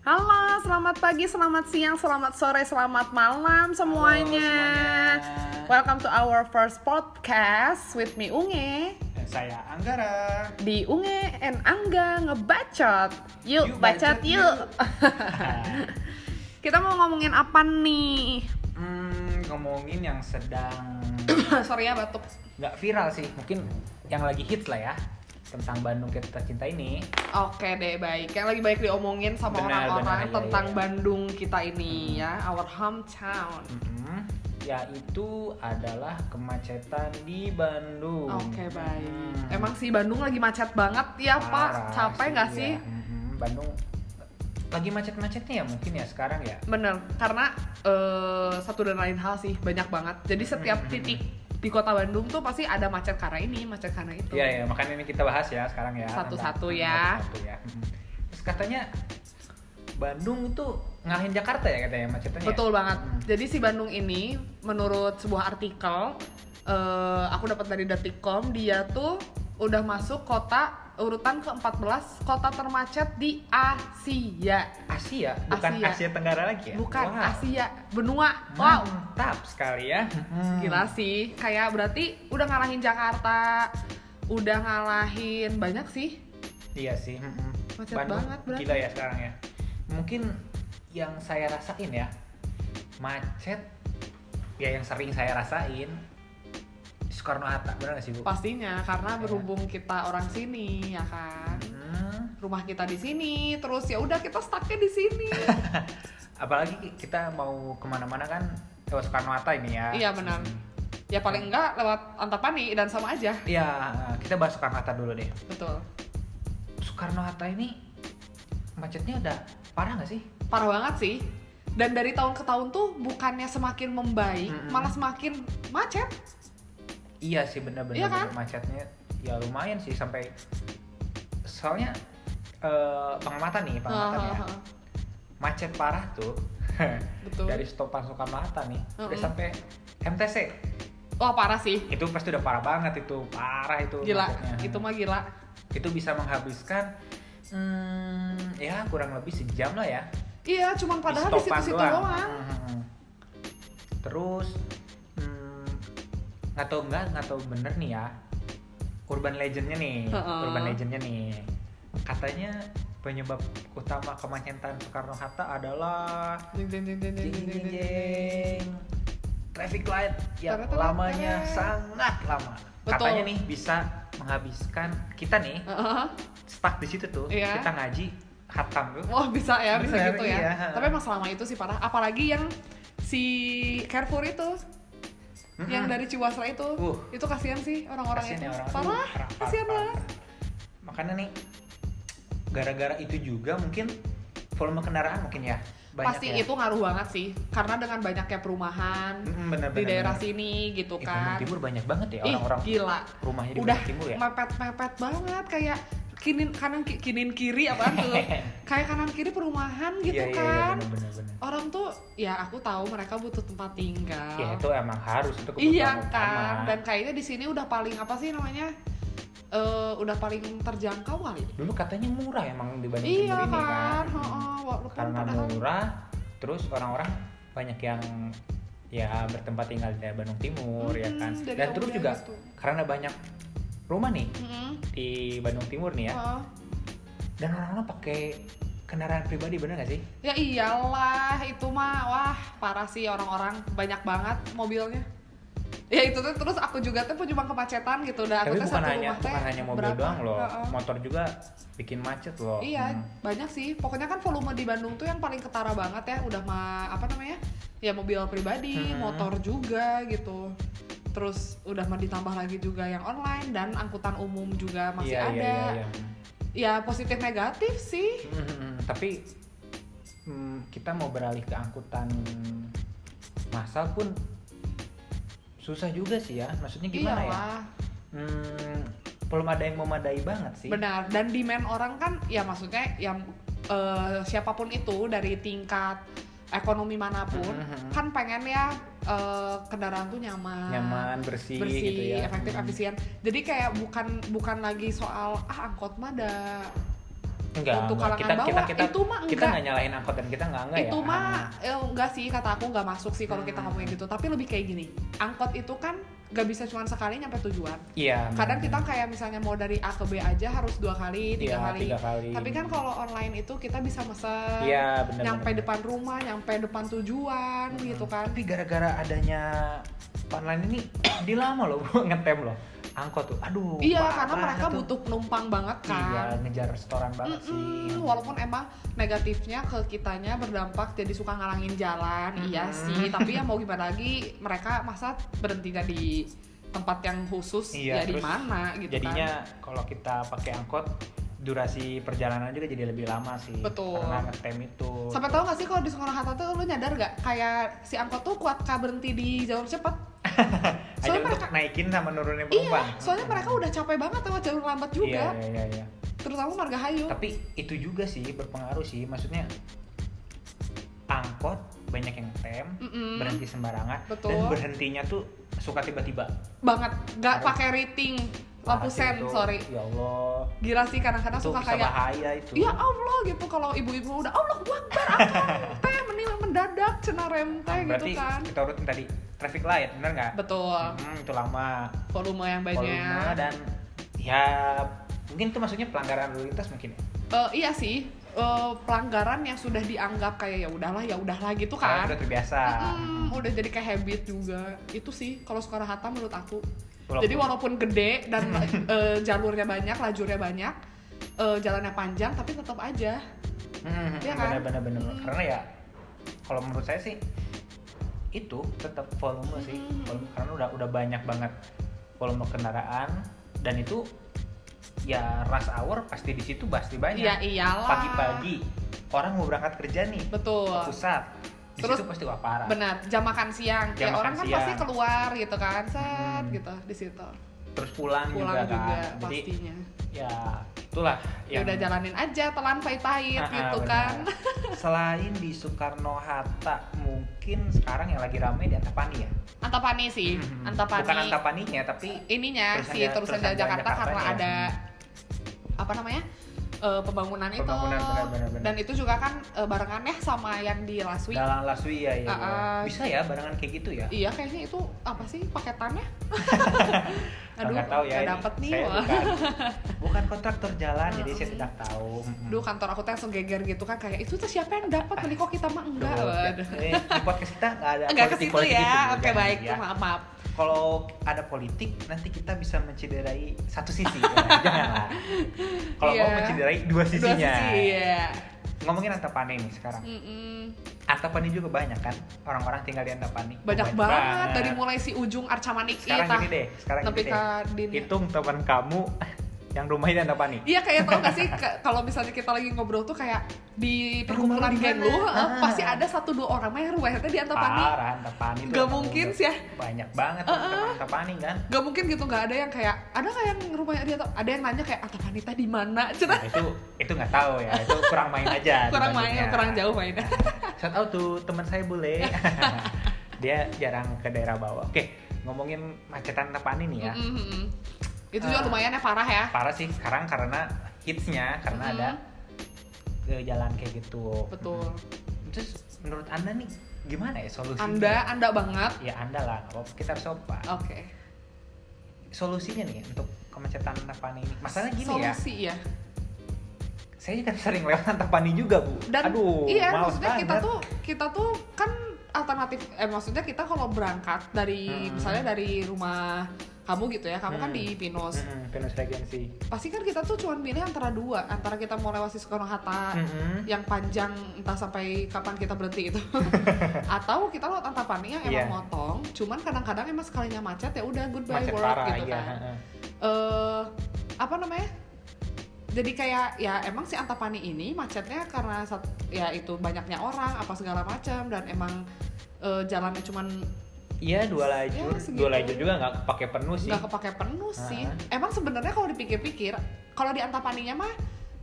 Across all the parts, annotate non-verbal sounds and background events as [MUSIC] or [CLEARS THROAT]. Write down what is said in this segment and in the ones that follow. Halo, selamat pagi, selamat siang, selamat sore, selamat malam semuanya. semuanya. Welcome to our first podcast with me Unge Dan Saya [LAUGHS] Anggara. di Unge and Angga ngebacot. Yuk, Yuk, bacot bacot yuk. [LAUGHS] Kita mau ngomongin apa nih? hmm, ngomongin yang sedang [CLEARS THROAT] Sorry ya batuk. nggak viral sih, mungkin yang lagi hits lah ya tentang Bandung kita cinta ini. Oke deh, baik. Yang lagi baik diomongin sama Benar, orang-orang benar, iya, tentang iya. Bandung kita ini ya, our hometown. Mhm. Yaitu adalah kemacetan di Bandung. Oke, baik. Hmm. Emang sih Bandung lagi macet banget ya, Pak. Parah Capek nggak sih? iya. ya. Mhm, Bandung lagi macet-macetnya ya mungkin ya sekarang ya. Bener, karena eh, satu dan lain hal sih banyak banget. Jadi setiap Mm-mm. titik di kota Bandung tuh pasti ada macet karena ini, macet karena itu. Iya ya, makanya ini kita bahas ya sekarang ya. Satu-satu tentang- ya. Satu-satu ya. Mhm. Terus katanya Bandung itu ngalahin Jakarta ya katanya macetnya. ya? Betul banget. Mhm. Jadi si Bandung ini menurut sebuah artikel eh, aku dapat dari Detikcom, dia tuh udah masuk kota urutan ke-14 kota termacet di Asia. Asia, bukan Asia. Asia. Tenggara lagi ya? Bukan Wow. Asia, benua. Wow. Mantap sekali ya. Mhm. Gila sih, kayak berarti udah ngalahin Jakarta, udah ngalahin banyak sih. Iya sih. mhm. Hmm. Macet banget berarti. Gila ya sekarang ya. Mungkin yang saya rasain ya macet ya yang sering saya rasain Soekarno Hatta benar nggak sih bu? Pastinya karena Iya. berhubung kita orang sini ya kan. Mhm. Rumah kita di sini, terus ya udah kita stucknya di [LAUGHS] sini. apalagi kita mau kemana-mana kan lewat Soekarno Hatta ini ya Iya, benar. Hmm. ya paling enggak lewat Antapani dan sama aja. iya kita bahas Soekarno Hatta dulu deh Betul. Soekarno Hatta ini macetnya udah parah nggak sih Parah banget sih. Dan dari tahun ke tahun tuh bukannya semakin membaik, Mm-mm. malah semakin macet. iya sih bener-bener Iya kan? macetnya ya lumayan sih sampai soalnya eh, pengamatan nih pengamatan ya Hahaha. macet parah tuh oh, Betul. Oh, dari stopan Soekarno Hatta nih udah Mm-mm. sampai MTC Wah, parah sih. itu pasti udah parah banget itu parah itu Gila, macetnya. itu mah gila. itu bisa menghabiskan hmm, ya kurang lebih sejam lah ya Iya, cuman padahal di stopan situ-situ doang. doang. Hmm, hmm, hmm. terus hmm, nggak tahu nggak nggak tahu bener nih ya urban legendnya nih Heeh. urban legendnya nih katanya penyebab utama kemacetan Soekarno Hatta adalah Jeng, jeng, jeng, jeng, jeng, jeng jeng, jeng jeng, jeng. jeng traffic light yang Teret, teret, lamanya teret. sangat lama eh. Betul. katanya nih bisa menghabiskan kita nih Heeh. stuck di situ tuh Iya. kita ngaji hatam tuh Wah bisa ya, bisa Bener, gitu ya. iya. Tapi emang selama itu sih parah. Apalagi yang si Carrefour itu, Mm-mm. yang dari Ciwasra itu, Uh. itu kasihan sih orang-orang Kasian itu. ya orang parah, Parah, kasihan parah, banget. parah. makanya nih gara-gara itu juga mungkin volume kendaraan mungkin ya banyak Pasti ya. itu ngaruh banget sih, karena dengan banyaknya perumahan Mm, bener, di bener, daerah bener. sini gitu Ih, Bandung kan. timur banyak banget ya Ih, orang-orang gila. rumahnya di Udah Bandung timur ya mepet-mepet banget kayak kinin kanan ki- kinin kiri apaan [LAUGHS] tuh. kayak kanan kiri perumahan gitu Iya, iya, iya, kan. bener, bener, bener. orang tuh ya aku tahu mereka butuh tempat tinggal. ya itu emang harus itu kebutuhan Iya utama. kan, dan kayaknya di sini udah paling apa sih namanya? Eh, udah paling terjangkau kali. dulu katanya murah emang di Bandung Iya timur kan, ini kan heeh, walaupun karena padahal murah terus orang-orang banyak yang ya bertempat tinggal di daerah Bandung Timur ya Mm-mm, kan Hmm, dari dan terus awalnya juga gitu. karena banyak rumah nih Mm-mm, di Bandung Timur nih ya heeh. dan orang-orang pakai kendaraan pribadi bener gak sih Ya iyalah, itu mah wah parah sih orang-orang banyak banget mobilnya. Ya itu tuh terus aku juga tuh cuma kemacetan gitu udah aku tapi tuh bukan satu hanya rumah teh bukan hanya mobil berapa? doang loh Heeh. motor juga bikin macet loh Iya, Hmm. banyak sih. Pokoknya kan volume di Bandung tuh yang paling ketara banget ya. Udah mah apa namanya? Ya mobil pribadi, Hmm. motor juga gitu. Terus udah mah ditambah lagi juga yang online dan angkutan umum juga masih Iya, ada. iya, iya, iya. Ya positif negatif sih. Hmm, tapi hmm, kita mau beralih ke angkutan massal pun susah juga sih ya maksudnya gimana ya Iyalah, Hmm, belum ada yang memadai banget sih benar. Dan demand orang kan ya maksudnya yang eh, siapapun itu dari tingkat ekonomi manapun Mhm. kan pengen ya eh, kendaraan tuh nyaman. nyaman bersih, bersih, gitu ya efektif, Hmm. efisien. Jadi kayak bukan bukan lagi soal ah angkot mah ada Enggak, untuk enggak. kalangan kita, bawah kita, kita, itu mah kita enggak nggak nyalahin angkot dan kita nggak enggak itu ya mah Ah. eh, enggak sih kata aku nggak masuk sih kalau kita Hmm. ngomongin gitu tapi lebih kayak gini angkot itu kan nggak bisa cuma sekali nyampe tujuan iya kadang kita kayak misalnya mau dari A ke B aja harus dua kali tiga tiga kali Iya, tiga kali tapi kan kalau online itu kita bisa mesen iya benar Hmm. nyampe depan rumah nyampe depan tujuan gitu kan tapi gara-gara adanya online ini [CLEARS THROAT] dia lama loh [LAUGHS] gua ngetem loh angkot tuh aduh iya parah karena mereka tuh. butuh penumpang banget iya kan ngejar restoran banget sih Mm-mm, walaupun emang negatifnya ke kitanya berdampak jadi suka ngalangin jalan iya Mm-mm. sih tapi ya mau gimana lagi mereka masa berhentinya di tempat yang khusus ya Iya, di terus mana gitu jadinya kan kalau kita pakai angkot durasi perjalanan juga jadi lebih lama sih Betul. karena ngetem itu sampai tau gak sih kalau di sekolah hatta tuh lu nyadar gak kayak si angkot tuh kuat kah berhenti di jalur [LAUGHS] cepat aja soalnya untuk mereka- naikin sama nurunin iya penumpang soalnya mereka udah capek banget sama jalur lambat Iya, juga iya, iya, iya. terutama Margahayu tapi itu juga sih berpengaruh sih maksudnya angkot banyak yang ngetem Mm-mm. berhenti sembarangan Betul. dan berhentinya tuh suka tiba-tiba banget nggak Harus. pakai rating lampu Parah sih sen itu. sorry ya Allah gila sih kadang-kadang itu suka bisa kayak bahaya itu ya Allah gitu kalau ibu-ibu udah Allah gua akbar akbar [LAUGHS] teh mending mendadak cena rem teh gitu Nah, berarti kan kita urutin tadi traffic light bener nggak betul Hmm, itu lama volume yang volume banyak dan ya mungkin itu maksudnya pelanggaran lalu lintas mungkin ya. Eh, iya sih eh, pelanggaran yang sudah dianggap kayak ya udahlah ya udahlah gitu Karena kan udah terbiasa Mm-mm, udah jadi kayak habit juga itu sih kalau sekolah hatta menurut aku Walaupun- jadi walaupun gede dan [LAUGHS] eh, jalurnya banyak lajurnya banyak eh, jalannya panjang tapi tetap aja Hmm, Iya kan? bener bener bener Mm. karena ya kalau menurut saya sih itu tetap volume sih Mm. volume karena udah udah banyak banget volume kendaraan dan itu ya rush hour pasti di situ pasti banyak Iya iyalah. pagi-pagi orang mau berangkat kerja nih Betul. ke pusat di Terus- situ pasti wah parah Benar, jam makan siang. Nah. ya Jam makan orang kan siang. pasti keluar gitu kan, set Hmm. gitu di situ. terus pulang, Pulang juga, juga, kan jadi pastinya. ya itulah Ya udah jalanin aja telan [LAUGHS] pahit-pahit Ah, gitu benar. kan. [LAUGHS] selain di Soekarno Hatta mungkin sekarang yang lagi ramai di Antapani ya Antapani sih, Mhm. Antapani. bukan Antapaninya tapi Ininya Terusan si Jalan- terusan terusan Jalan Jalan Jakarta, Jakarta karena ya. ada apa namanya? eh, pembangunan, Pembangunan, itu. benar, benar, benar. Dan itu juga kan eh, barengan ya sama yang di Laswi. Dalang Laswi ya, ya, ya. Ah, ah. bisa ya barengan kayak gitu ya Iya, kayaknya itu apa sih [LAUGHS] paketannya? [LAUGHS] Aduh, nggak tahu nggak ya ini. dapet nih. saya wah. [LAUGHS] bukan, bukan kontraktor jalan jadi saya Mm-mm. tidak tahu Hmm, Mm-mm. ah. Duh kantor aku tuh langsung geger gitu kan kayak itu tuh siapa yang dapat tadi kok kita mah enggak. Duh, Waduh. eh, di podcast kita nggak [LAUGHS] ada Enggak ke situ ya. politik-politik gitu, Oke jangan, baik, ya. maaf maaf. kalau ada politik nanti kita bisa mencederai satu sisi [LAUGHS] ya. janganlah kalau Iya. mau mencederai dua Dua sisinya sisi ya. ngomongin Antapani nih sekarang Mm-mm. Antapani juga banyak kan orang-orang tinggal di Antapani Banyak banget dari mulai si ujung Arcamanik sekarang tah. gini deh sekarang Tapi gini deh Gitu. Din. hitung teman kamu [LAUGHS] yang rumahnya di Antapani Iya kayak tau gak sih ke- kalau misalnya kita lagi ngobrol tuh kayak di Rumah perkumpulan lu di geng mana? lu eh, Ah. pasti ada satu dua orang mah yang rumahnya di Antapani. Parah, Antapani tuh Gak emang mungkin udah sih Uh-uh. ya. Banyak banget teman-teman Antapani kan. Gak mungkin gitu nggak ada yang kayak ada nggak yang rumahnya di Antapani? Ada yang nanya kayak Antapani tah di mana? Cina Nah, itu itu nggak tahu ya, itu kurang main aja. [LAUGHS] kurang dibandingnya. main, kurang jauh mainnya. [LAUGHS] Shout out tuh teman saya [LAUGHS] boleh. Dia jarang ke daerah bawah. Oke, ngomongin macetan Antapani nih ya. Mm, mm, mm. Itu juga Ah. lumayan ya parah ya. Parah sih sekarang karena hitsnya karena Mm. ada ke jalan kayak gitu. Betul. Terus menurut Anda nih gimana ya solusinya? Anda, Oh. Anda banget. Ya Anda lah, nggak apa-apa. kita harus sopan. Oke. Solusinya nih untuk kemacetan Antapani ini. Masalahnya gini ya. Solusi ya. saya kan sering lewat Antapani juga bu. Dan Aduh, iya, males maksudnya kita banget. tuh kita tuh kan alternatif eh maksudnya kita kalau berangkat dari Hmm. misalnya dari rumah kamu gitu ya, kamu kan Hmm. di Pinus. Mm-mm, Venus Regency. Pasti kan kita tuh cuman milih antara dua, antara kita mau lewat Soekarno Hatta Mm-mm. yang panjang entah sampai kapan kita berhenti [LAUGHS] itu atau kita lewat Antapani yang Iya. emang motong cuman kadang-kadang emang sekalinya macet ya udah goodbye Macet world parah gitu iya, kan heeh. eh apa namanya? Jadi kayak ya emang si Antapani ini macetnya karena sat- ya itu banyaknya orang apa segala macam dan emang eh, jalannya cuman Iya dua Ya, lajur, segitu. dua lajur juga nggak pakai penuh sih. nggak kepake penuh sih. Ah. Emang sebenarnya kalau dipikir-pikir kalau di Antapaninya mah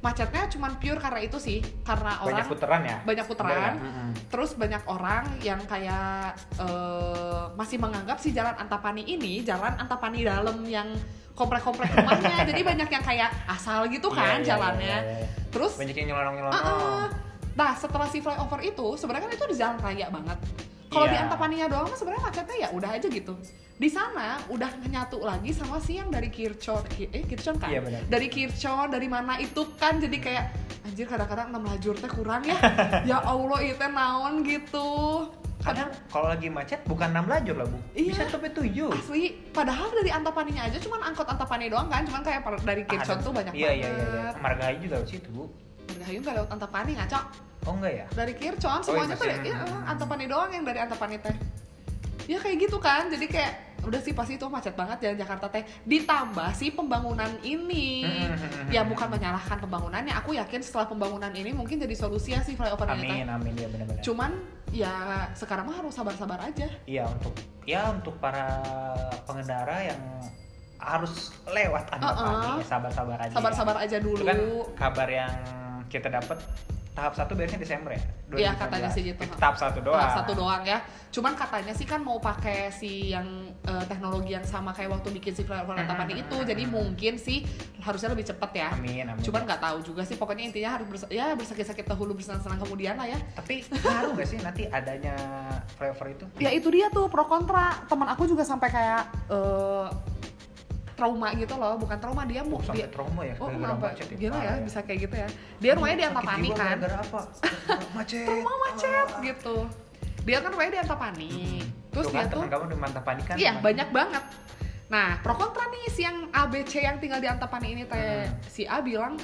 macetnya cuman pure karena itu sih karena banyak orang puteran ya banyak Bener putaran nggak? Mm-mm. terus banyak orang yang kayak eh, masih menganggap si jalan Antapani ini jalan Antapani dalam yang komplek-komplek rumahnya [LAUGHS] jadi banyak yang kayak asal gitu Iya, kan iya, jalannya iya, iya, iya. terus banyak yang nyelonong nyelonong Heeh. nah setelah si flyover itu sebenarnya kan itu di jalan raya banget kalau Iya. di Antapaninya doang mah sebenarnya macetnya ya udah aja gitu di sana udah nyatu lagi sama si yang dari Kirchhoff eh Kirchhoff kan Iya, benar. dari Kirchhoff dari mana itu kan jadi kayak anjir kadang-kadang 6 lajur teh kurang [LAUGHS] ya ya Allah itu teh naon gitu kadang kalau lagi macet bukan 6 lajur lah bu Iya. bisa sampai 7 asli padahal dari Antapaninya aja cuman angkot Antapani doang kan cuman kayak par- dari Kirchhoff tuh banyak iya, banget iya iya iya margahayu juga lewat situ bu Margahayu nggak lewat Antapani ngaco oh enggak ya dari Kircon semuanya iya, tuh masih- ya, antapani doang yang dari antapani teh ya kayak gitu kan jadi kayak udah sih pasti itu macet banget jalan Jakarta teh ditambah sih pembangunan [LAUGHS] ini Hmm. ya bukan menyalahkan pembangunannya aku yakin setelah pembangunan ini mungkin jadi solusinya sih flyover ini teh amin amin ya benar-benar cuman ya sekarang mah harus sabar-sabar aja iya untuk ya untuk para pengendara yang harus lewat Uh-uh. antapani ya, sabar-sabar aja sabar-sabar aja Itu kan dulu kabar yang kita dapat tahap satu biasanya Desember ya Iya, katanya sih gitu. Itu tahap satu doang Tahap satu doang ya cuman katanya sih kan mau pakai si yang eh, teknologi yang sama kayak waktu bikin si flyover Hmm. antapani itu jadi mungkin sih harusnya lebih cepet ya amin amin cuman nggak tahu juga sih pokoknya intinya harus bersa- ya bersakit-sakit dahulu bersenang-senang kemudian lah ya tapi ngaruh gak sih nanti adanya flavor itu ya itu dia tuh pro kontra teman aku juga sampai kayak eh, trauma gitu loh bukan trauma dia mau Oh, sampai dia trauma ya oh gara-gara kenapa macet gila ya parah bisa kayak gitu ya dia rumahnya di Sakit Antapani jiwa kan gara-gara apa macet trauma macet gitu dia kan rumahnya di Antapani Hmm. terus dia tuh kan kamu udah mantap panik kan iya teman- banyak banget nah pro kontra nih si yang ABC yang tinggal di Antapani ini teh Hmm. si A bilang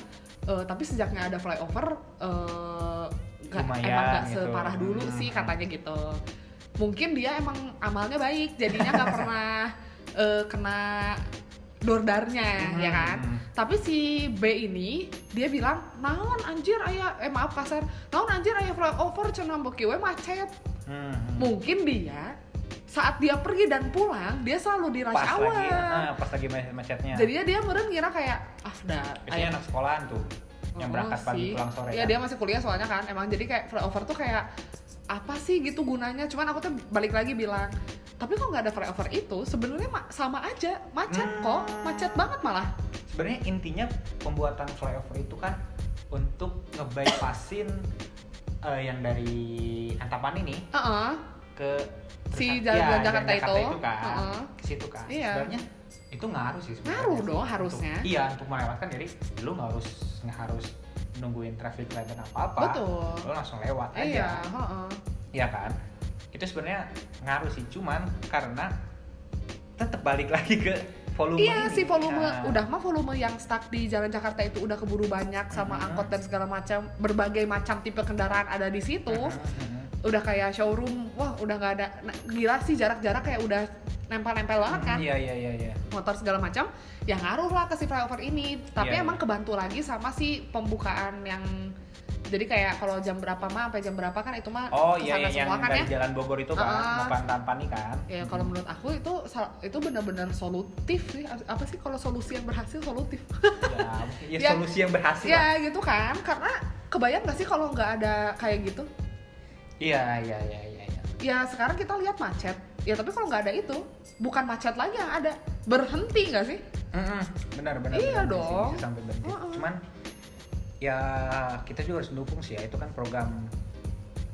"Eh, tapi sejaknya ada flyover eh, nggak- Lumayan emang nggak gitu. separah dulu Hmm. sih katanya gitu mungkin dia emang amalnya baik jadinya [LAUGHS] nggak pernah eh, kena dordarnya ya Hmm, kan hmm. tapi si B ini dia bilang naon anjir ayah eh maaf kasar naon anjir ayah flyover cenah beuki we macet Hmm, hmm. mungkin dia saat dia pergi dan pulang dia selalu di rush pas hour lagi ah, ya. pas lagi macet- macetnya jadinya dia meren ngira kayak ah dah biasanya anak sekolahan tuh yang oh, berangkat pagi sih." pulang sore ya kan. dia masih kuliah soalnya kan emang jadi kayak flyover tuh kayak apa sih gitu gunanya cuman aku tuh balik lagi bilang tapi kok nggak ada flyover itu sebenarnya ma- sama aja macet Hmm. kok macet banget malah sebenarnya intinya pembuatan flyover itu kan untuk ngebypassin eh, yang dari Antapan ini Heeh. ke Si Trisakti- jalan ya, Jakarta itu. kan Heeh. ke situ kan Iya. sebenarnya itu ngaruh sih sebenarnya. Ngaruh dong, Untuk- harusnya. iya untuk melewatkan jadi lu nggak harus nggak harus nungguin traffic light dan apa apa betul lu langsung lewat iya aja heeh. Iya kan itu sebenarnya ngaruh sih cuman karena tetap balik lagi ke volume Iya ini. sih volume Nah, udah mah volume yang stuck di jalan Jakarta itu udah keburu banyak sama Mhm. angkot dan segala macam berbagai macam tipe kendaraan ada di situ. mhm. Udah kayak showroom, wah udah nggak ada nah, gila sih jarak-jarak kayak udah nempel-nempel banget kan Iya iya iya iya. motor segala macam ya ngaruh lah ke si flyover ini tapi Iya, emang iya. kebantu lagi sama si pembukaan yang jadi kayak kalau jam berapa mah sampai jam berapa kan itu mah Oh iya kesana iya, yang semua kan dari ya Jalan Bogor itu kan, Ah. mau Pantampan nih kan. ya kalau menurut aku itu sal- itu benar-benar solutif sih apa sih kalau solusi yang berhasil solutif Ya, mungkin ya Ya. solusi yang berhasil. lah. Ya gitu kan, karena kebayang gak sih kalau nggak ada kayak gitu? Iya iya iya iya. iya. Ya sekarang kita lihat macet, ya tapi kalau nggak ada itu, bukan macet lagi yang ada, berhenti nggak sih? Mm-mm, Benar benar. Iya benar, bisa- dong. bisa sampai berhenti. Mm-mm. Cuman ya kita juga harus dukung sih ya itu kan program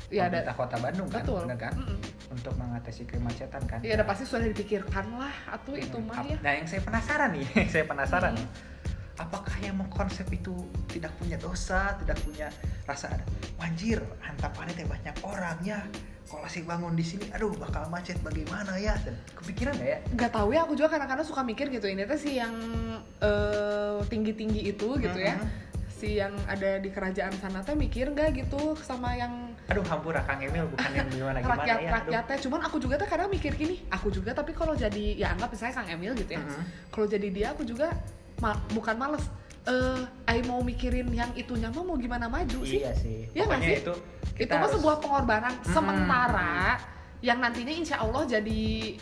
Ya ada, pemerintah kota Bandung kan, betul. benar Oh, kan? Mm-mm. Untuk mengatasi kemacetan kan. Ya ada pasti sudah dipikirkan lah, atau itu Hmm, mah ap- ya. Nah yang saya penasaran nih, [LAUGHS] yang saya penasaran Hmm. nih, apakah yang mengkonsep itu tidak punya dosa, tidak punya rasa ada, wanjir, hantapannya teh banyak orangnya, kalau saya bangun di sini, aduh bakal macet bagaimana ya, Dan kepikiran nggak ya? Gak tahu ya, aku juga kadang-kadang suka mikir gitu, ini tuh si yang eh, tinggi-tinggi itu gitu ya, Mhm. si yang ada di kerajaan sana teh mikir nggak gitu sama yang Aduh hampura Kang Emil bukan yang gimana gimana rakyat ya, aduh. rakyatnya cuman aku juga tuh kadang mikir gini aku juga tapi kalau jadi ya anggap misalnya kang Emil gitu ya Mhm. kalau jadi dia aku juga ma- bukan males eh I mau mikirin yang itunya mah mau gimana maju sih Iya sih, Iya nggak pokoknya sih? itu itu mah harus- sebuah pengorbanan Mm-mm. sementara yang nantinya insya Allah jadi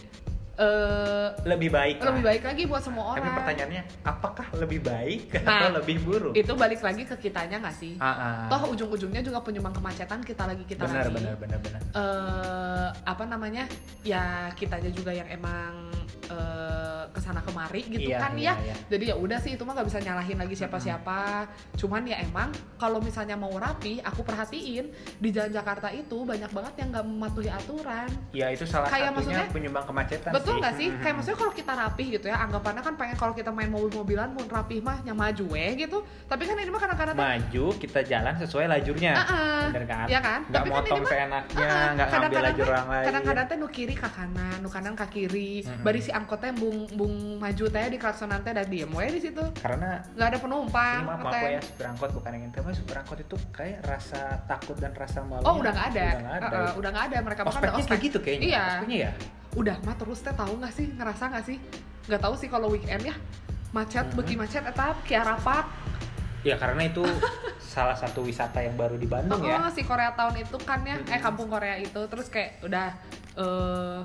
eh, lebih baik lah. lebih baik lagi buat semua orang. Tapi pertanyaannya, apakah lebih baik atau Nah, lebih buruk? Itu balik lagi ke kitanya nggak sih? Ah, ah. Toh ujung-ujungnya juga penyumbang kemacetan kita lagi kita lagi. benar benar benar benar eh apa namanya ya kitanya juga yang emang eh, kesana kemari gitu Iya, kan iya, ya iya. jadi ya udah sih itu mah nggak bisa nyalahin lagi siapa-siapa cuman ya emang kalau misalnya mau rapi aku perhatiin di jalan Jakarta itu banyak banget yang nggak mematuhi aturan ya itu salah Kayak satunya maksudnya- penyumbang kemacetan betul sih. Hmm. nggak sih Mm-mm. kayak maksudnya kalau kita rapi gitu ya anggapannya kan pengen kalau kita main mobil-mobilan pun rapih mah nyamaju eh gitu tapi kan ini mah kadang-kadang tuh, maju kita jalan sesuai lajurnya "Ah-ah." bener kan Iya kan? nggak Tapi kan motong ini mah- seenaknya Ah, nggak ngambil kadang-kadang lajur teh- orang lain kadang-kadang teh nu kiri ke kanan nu kanan ke kiri Mm-mm. bari si angkot teh bung bung maju teh di klaksonan teh dan diem we di situ karena nggak ada penumpang ini mah maaf ngeteh. ya super angkot bukan yang itu super angkot itu kayak rasa takut dan rasa malu ya. oh udah nggak ada udah nggak ada Uh-uh, udah nggak ada mereka makan udah ospeknya ospek kayak gitu kayaknya Iya. ospeknya ya udah mah terus teh tahu nggak sih ngerasa nggak sih nggak tahu sih kalau weekend ya macet Mhm. beki macet etap ki rapat ya karena [LAUGHS] itu salah satu wisata yang baru di Bandung ya "Oh, si Korea Town itu kan ya eh Mhm. kampung Korea itu terus kayak udah eh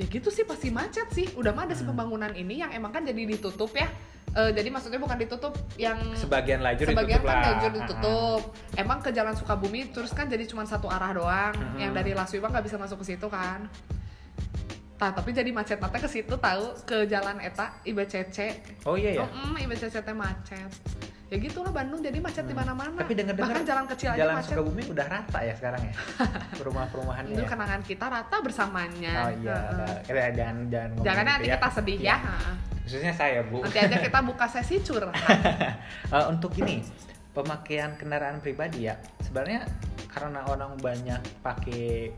ya gitu sih pasti macet sih udah mah ada si Hmm. pembangunan ini yang emang kan jadi ditutup ya Eh, jadi maksudnya bukan ditutup yang sebagian lajur sebagian ditutup kan lah lajur Ah, ah. ditutup emang ke jalan Sukabumi terus kan jadi cuma satu arah doang Mhm. yang dari Laswiba nggak bisa masuk ke situ kan Tah, tapi jadi macet nanti ke situ tahu ke jalan Eta Iba Cece oh iya Oh, ya mm, Iba Cece teh macet ya gitulah Bandung jadi macet di Hmm. mana-mana Tapi denger-dengar nah, bahkan jalan kecil aja jalan macet Sukabumi udah rata ya sekarang [LAUGHS] ya perumahan-perumahannya itu ya? kenangan kita rata bersamanya Oh iya, Heeh. ada- eh, jangan jangan ngomong jangan gitu nanti ya. kita sedih ya Iya. heeh. Khususnya saya bu. nanti aja kita buka sesi [LAUGHS] curhat Eh, untuk ini pemakaian kendaraan pribadi ya sebenarnya karena orang banyak pakai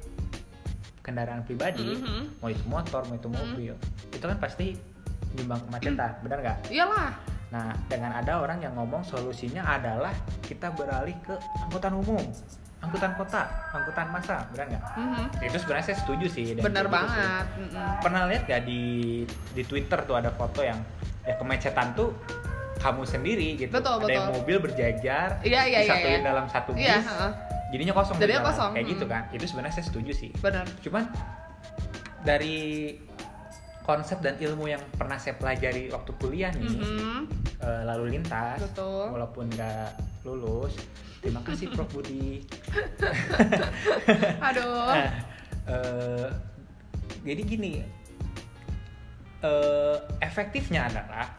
kendaraan pribadi, Mhm. mau itu motor mau itu Mm-hmm. mobil, itu kan pasti menyumbang kemacetan, Mm. benar nggak? iyalah Nah dengan ada orang yang ngomong solusinya adalah kita beralih ke angkutan umum, angkutan kota, angkutan massa, benar nggak? Mhm. Itu sebenarnya saya setuju sih. dan bener kayak gitu sih. banget Mhm. pernah lihat gak di di Twitter tuh ada foto yang ya kemacetan tuh kamu sendiri gitu. Betul, ada betul. yang mobil berjajar, iya iya iya iya. disatuin dalam satu bis, iya heeh. jadinya kosong. di Jadinya jalan. kosong, Kayak hmm. gitu kan. Itu sebenarnya saya setuju sih. bener Cuman dari konsep dan ilmu yang pernah saya pelajari waktu kuliah nih, Mhm. eh, lalu lintas, Betul. walaupun nggak lulus, terima kasih Prof Budi. aduh Nah, eh, jadi gini, eh, efektifnya adalah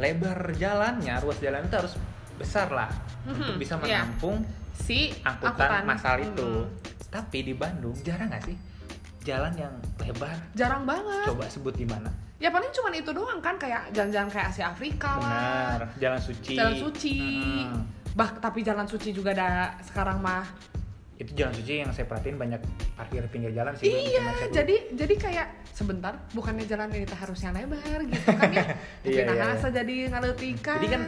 lebar jalannya, ruas jalan itu harus besar lah untuk Mhm, bisa iya. menampung si angkutan Mm-hmm. massal itu. Mhm. Tapi di Bandung jarang nggak sih jalan yang lebar? jarang banget Coba sebut di mana? ya paling cuma itu doang kan kayak jalan-jalan kayak Asia Afrika lah Benar, Jalan Suci. Mm-hmm. Jalan Suci Mm-mm. bah tapi Jalan Suci juga ada sekarang mah Itu Jalan Suci yang saya perhatiin banyak parkir pinggir jalan sih. yang bikin Iya, macet. jadi jadi kayak sebentar bukannya jalan ini teh harusnya lebar gitu kan ya. Tapi [LAUGHS] Iya, nah iya, iya. asa jadi ngaletikan. Jadi kan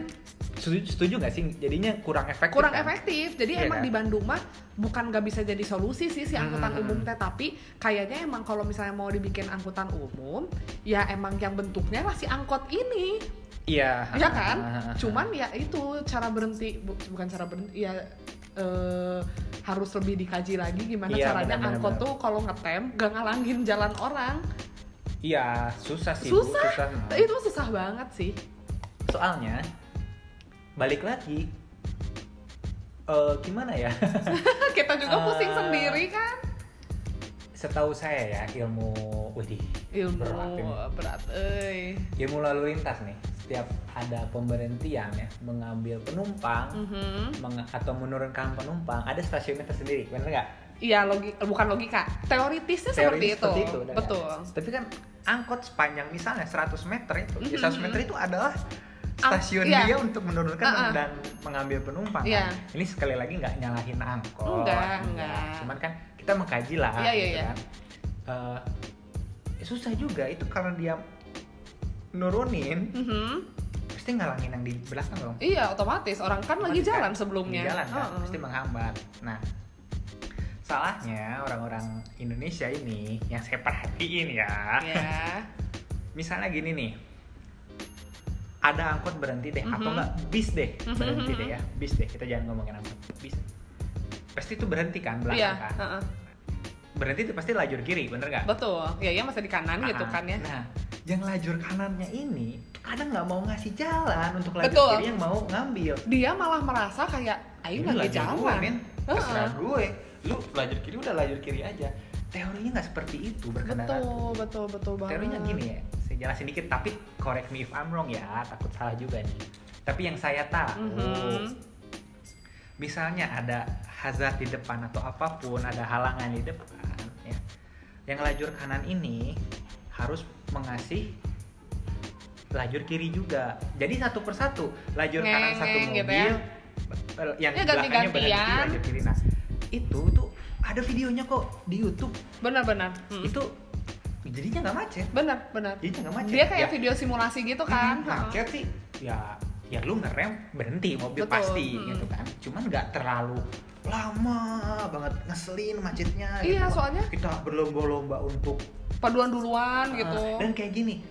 setuju, setuju gak sih? Jadinya kurang efektif. kurang kan? efektif. Jadi Iya emang kan? di Bandung mah bukan nggak bisa jadi solusi sih si angkutan Hmm. umum teh tapi kayaknya emang kalau misalnya mau dibikin angkutan umum ya emang yang bentuknya lah si angkot ini Iya. ya kan cuman ya itu cara berhenti bu- bukan cara berhenti ya eh, harus lebih dikaji lagi gimana Iya, caranya benar-benar. angkot tuh kalau ngetem gak ngalangin jalan orang Iya, susah sih. Bu, Susah. susah. itu susah banget sih [LAUGHS] Soalnya balik lagi eh, gimana ya? [LAUGHS] kita juga pusing Eh, sendiri kan Setahu saya ya ilmu widih. ilmu berat ini. berat euy. Ilmu lalu lintas nih. Setiap ada pemberhentian ya mengambil penumpang Mhm. meng- atau menurunkan penumpang ada stasiunnya tersendiri, bener nggak? iya logi eh, bukan logika teoritisnya seperti Teorinya itu, seperti itu, bener nggak? betul Tapi kan Angkot sepanjang misalnya 100 meter itu, ya, Mhm. 100 meter itu adalah Ang- stasiun iya. dia untuk menurunkan Ah, ah. dan mengambil penumpang. Iya. kan. ini sekali lagi nggak nyalahin angkot Enggak, enggak. cuman kan kita mengkaji lah Iya, iya, gitu iya. kan. Eh, Eh, Susah juga itu karena dia nurunin Mhm. pasti ngalangin yang di belakang dong. iya otomatis orang kan Otomatis lagi kan, jalan sebelumnya Di jalan kan, Heeh. pasti menghambat. Nah, salahnya orang-orang Indonesia ini yang saya perhatiin ya. [LAUGHS] ya misalnya gini nih ada angkot berhenti deh atau Mhm. enggak bis deh Mhm, berhenti mhm. deh ya bis deh kita jangan ngomongin angkot bis pasti itu berhenti kan belakang iya kan heeh. berhenti itu pasti lajur kiri bener nggak Betul, ya ya masih di kanan gitu Ah, kan ya. Nah, yang lajur kanannya ini kadang nggak mau ngasih jalan untuk lajur Betul. kiri yang mau ngambil. Dia malah merasa kayak ayo Ini lagi lajur gue, men. jalan. Terserah Heeh. gue. Lu lajur kiri udah lajur kiri aja. Teorinya nggak seperti itu berkendaraan. Betul, betul, betul banget. Teorinya gini ya, saya jelasin dikit tapi correct me if I'm wrong ya, takut salah juga nih. Tapi yang saya tahu, Oh. Mhm. misalnya ada hazard di depan atau apapun ada halangan di depan ya yang lajur kanan ini harus mengasih lajur kiri juga jadi satu persatu lajur kanan satu Ngeng-ngeng mobil gitu ya. eh, yang Ya, belakangnya berhenti ganti-gantian. lajur kiri nah itu tuh ada videonya kok di YouTube Benar-benar. Mm. itu jadinya nggak macet Benar, benar. jadinya nggak macet Dia kayak Ya, video simulasi gitu kan. Hmm, macet sih ya ya lu ngerem berhenti mobil Betul, pasti hmm. gitu kan cuman nggak terlalu lama banget ngeselin macetnya gitu, Iya, Pak. soalnya kita berlomba-lomba untuk paduan duluan gitu. Ah, dan kayak gini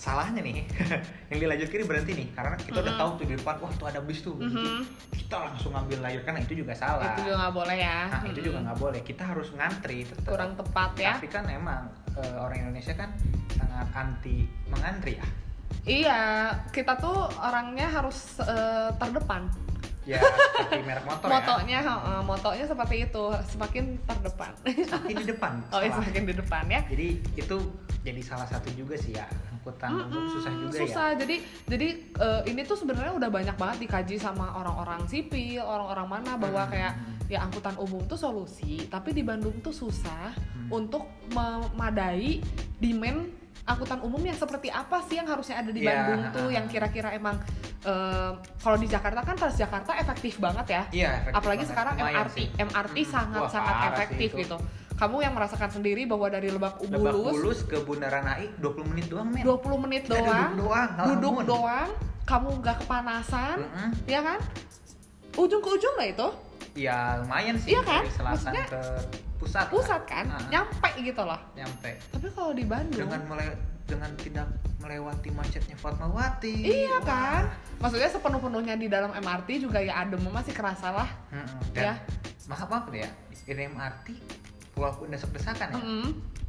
salahnya nih [LAUGHS] yang di lajur kiri berhenti nih karena kita udah Mhm. tahu tuh di depan wah tuh ada bis tuh berhenti." Mhm. kita langsung ngambil lajur kanan itu juga salah Itu juga nggak boleh ya. nah itu Mm-mm. juga nggak boleh kita harus ngantri tetap. kurang tepat ya. tapi kan emang eh, orang Indonesia kan sangat anti mengantri ya Iya, kita tuh orangnya harus eh, terdepan. [LAUGHS] ya seperti merek motor ya Motonya, heeh, motonya seperti itu, semakin terdepan. [LAUGHS] Seperti di depan oh, iya, salah. semakin di depan ya. jadi itu jadi salah satu juga sih ya angkutan umum Mm-mm, susah juga susah. ya Jadi jadi eh, ini tuh sebenarnya udah banyak banget dikaji sama orang-orang sipil, orang-orang mana bahwa Hmm. kayak ya angkutan umum tuh solusi, tapi di Bandung tuh susah untuk memadai demand angkutan umum yang seperti apa sih yang harusnya ada di Ya. Bandung tuh yang kira-kira emang eh, kalau di Jakarta kan Transjakarta efektif banget ya. Iya, efektif Apalagi banget. sekarang Lumayan MRT, sih. MRT Mm. Wah, sangat-sangat parah sih efektif itu. gitu. Kamu yang merasakan sendiri bahwa dari Lebak Lebak Bulus Bulus ke Bundaran AI 20 menit doang, men. 20 menit Kita doang, Duduk doang, duduk ngelamun. doang, kamu nggak kepanasan, Mm-mm. ya kan? Ujung ke ujung lah itu, Ya, lumayan sih. Iya kan? Dari selatan Maksudnya- ke pusat. pusat kan, Ah, nyampe gitu loh. nyampe. Tapi kalau di Bandung, dengan mele- dengan tidak melewati macetnya Fatmawati iya Wah. kan? Maksudnya sepenuh-penuhnya di dalam MRT juga ya adem masih kerasa lah. Mm-mm. Ya. Dan maaf maaf deh ya, di MRT walaupun desek desakan ya, Mm-mm.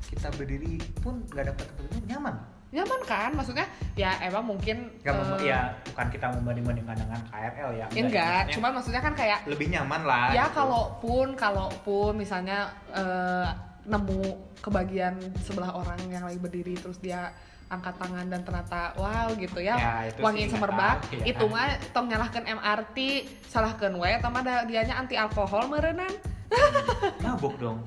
kita berdiri pun nggak dapat tempat duduk nyaman. Nyaman kan? Maksudnya ya emang mungkin Gak eh, mem- ya bukan kita membanding-bandingkan dengan KRL ya. ya enggak, maksudnya cuman maksudnya kan kayak lebih nyaman lah. ya gitu. kalaupun kalaupun misalnya eh, nemu kebagian sebelah orang yang lagi berdiri terus dia angkat tangan dan ternyata wow gitu ya, Ya, itu sih wangi nggak semerbak tahu, ya. itu mah tong nyalahkan MRT salahkan we tama da- dianya anti alkohol merenan mabuk dong.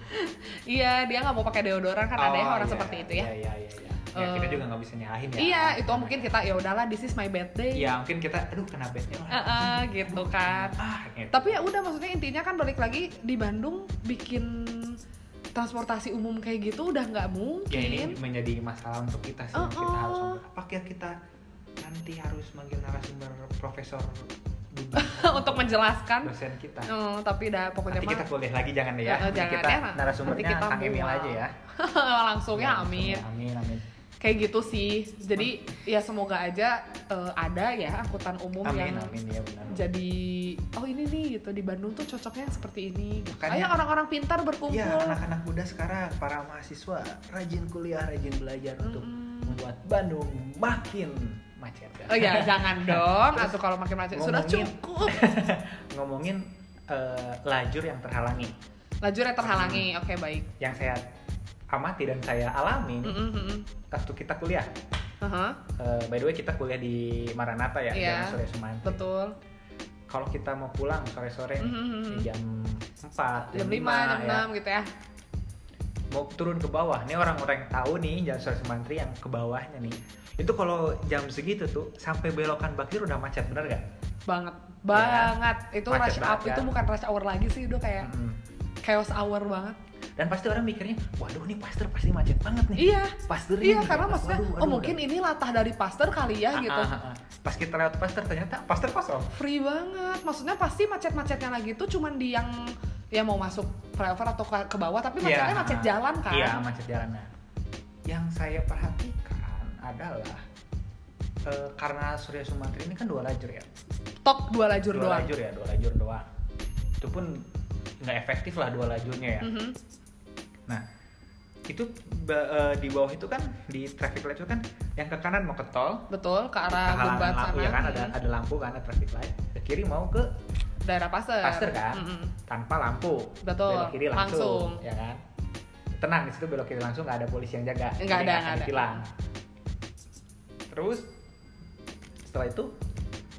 iya dia nggak mau pakai deodoran kan ada ya Oh, orang iya, seperti itu ya Iya iya iya. iya. Ya, kita Eh, juga nggak bisa nyalahin ya. iya itu mungkin kita ya udahlah this is my bad day Ya mungkin kita, aduh kena bednya lah. Eh, eh, gitu kan Ah, gitu. tapi ya udah maksudnya intinya kan balik lagi di Bandung bikin transportasi umum kayak gitu udah nggak mungkin ya ini menjadi masalah untuk kita sih. Oh, Kita harus oh. apakah kita nanti harus manggil narasumber profesor Budi [LAUGHS] untuk menjelaskan dosen kita. Eh, tapi dah pokoknya Nanti kita mah boleh lagi jangan deh Eh, ya. eh, Nanti jangan kita ya, Mak. narasumbernya Nanti kita Kang Emil mual. aja ya. [LAUGHS] langsung Ya, ya amin langsung ya, Amin amin. kayak gitu sih jadi ya semoga aja eh, ada ya angkutan umum yang Amin amin ya benar. jadi oh ini nih gitu di Bandung tuh cocoknya yang seperti ini gitu. Makanya- ayo orang-orang pintar berkumpul ya Iya, anak-anak muda sekarang para mahasiswa rajin kuliah rajin belajar Hmm. untuk Mm-mm. membuat Bandung makin Macet. ya. oh ya [LAUGHS] jangan dong atau kalau makin macet sudah ngomongin- cukup Ngomongin eh, lajur yang terhalangi, lajur yang terhalangi oke baik yang saya amati dan saya alami Mm, mm, mm, mm. waktu kita kuliah. Aha, Eh, by the way kita kuliah di Maranata ya, Iya. jangan sore Sumantri. betul Kalau kita mau pulang sore-sore Mm, nih, mm, mm. jam 4, jam 5, jam 6 ya. gitu ya mau turun ke bawah nih orang-orang yang tahu nih jalan sore semantri yang ke bawahnya nih itu kalau jam segitu tuh sampai belokan bakir udah macet bener gak? banget banget itu Iya. Macet rush banget Hmm. up kan? itu bukan rush hour lagi sih udah kayak Mm-mm. chaos hour banget Dan pasti orang mikirnya, waduh nih pastor pasti macet banget nih. iya Pastor iya karena maksudnya oh mungkin ini latah dari pastor kali Ah, ya gitu Pas kita lewat pastor ternyata pastor kosong. free banget maksudnya pasti macet-macetnya lagi tuh cuman di yang ya mau masuk flyover atau ke, ke bawah tapi Iya, macetnya macet jalan kan Iya macet jalanan. Yang saya perhatikan adalah eh, karena Surya Sumantri ini kan dua lajur ya. tok dua lajur dua doang lajur ya dua lajur doang itu pun nggak efektif lah dua lajurnya ya Mhm. nah itu ba- eh, di bawah itu kan di traffic light itu kan yang ke kanan mau ke tol betul ke ke arah halangan Gubat lampu Ah, sana ya kan ada mm, ada lampu kan ada traffic light ke kiri mau ke daerah Mhm. Pasir Pasir kan? Mm-mm. tanpa lampu Betul, belok kiri langsung, langsung. ya kan tenang di situ belok kiri langsung nggak ada polisi yang jaga Nggak Jadi ada, akan nggak ada. ditilang. terus setelah itu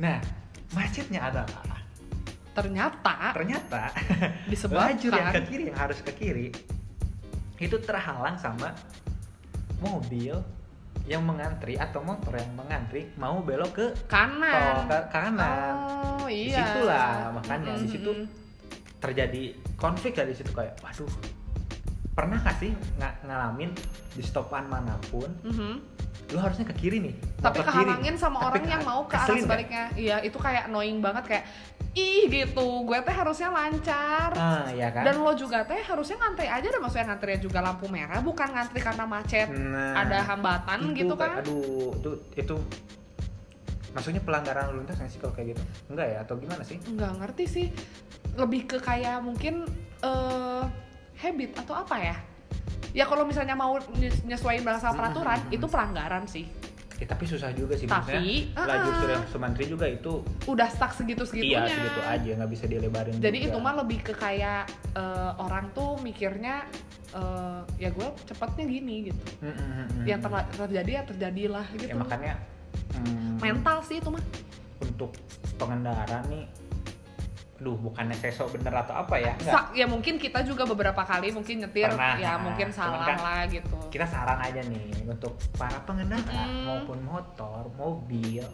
nah macetnya adalah ternyata ternyata lajur yang ke disebabkan kiri yang harus ke kiri itu terhalang sama mobil yang mengantri atau motor yang mengantri mau belok ke tol kanan ke kanan oh iya disitulah Nah, makanya, di Mm-mm, situ. mm-mm. terjadi konflik dari situ kayak waduh pernah gak sih nga- ngalamin di stopan manapun Mhm. lu harusnya ke kiri nih mau tapi ke kiri kehalangin nih. sama Tapi kan? orang ke- yang mau ke arah keselin nggak? sebaliknya iya itu kayak annoying banget kayak ih gitu gue teh harusnya lancar ah ya kan dan lo juga teh harusnya ngantri aja dan maksudnya ngantri juga lampu merah bukan ngantri karena macet Nah, ada hambatan itu gitu kayak, kan aduh itu itu maksudnya pelanggaran lalu lintas nggak sih kalau kayak gitu enggak ya atau gimana sih nggak ngerti sih lebih ke kayak mungkin eh habit atau apa ya ya kalau misalnya mau nyes- nyesuaiin bahasa Hmm, peraturan hmm, hmm. itu pelanggaran sih ya, tapi susah juga sih maksudnya tapi eh, lajur eh, Surya Sumantri juga itu udah stuck segitu segitunya iya segitu aja Iya. nggak bisa dilebarin jadi juga. itu mah lebih ke kayak eh, orang tuh mikirnya eh, ya gue cepetnya gini gitu Mm, mm, mm, mm. yang terla- terjadi ya terjadilah gitu ya makanya mm, mental sih itu mah untuk pengendara nih duh bukannya seso bener atau apa ya enggak Sa- ya mungkin kita juga beberapa kali mungkin nyetir Pernah. ya mungkin salah Cuman kan lah gitu kita saran aja nih untuk para pengendara Mm. maupun motor mobil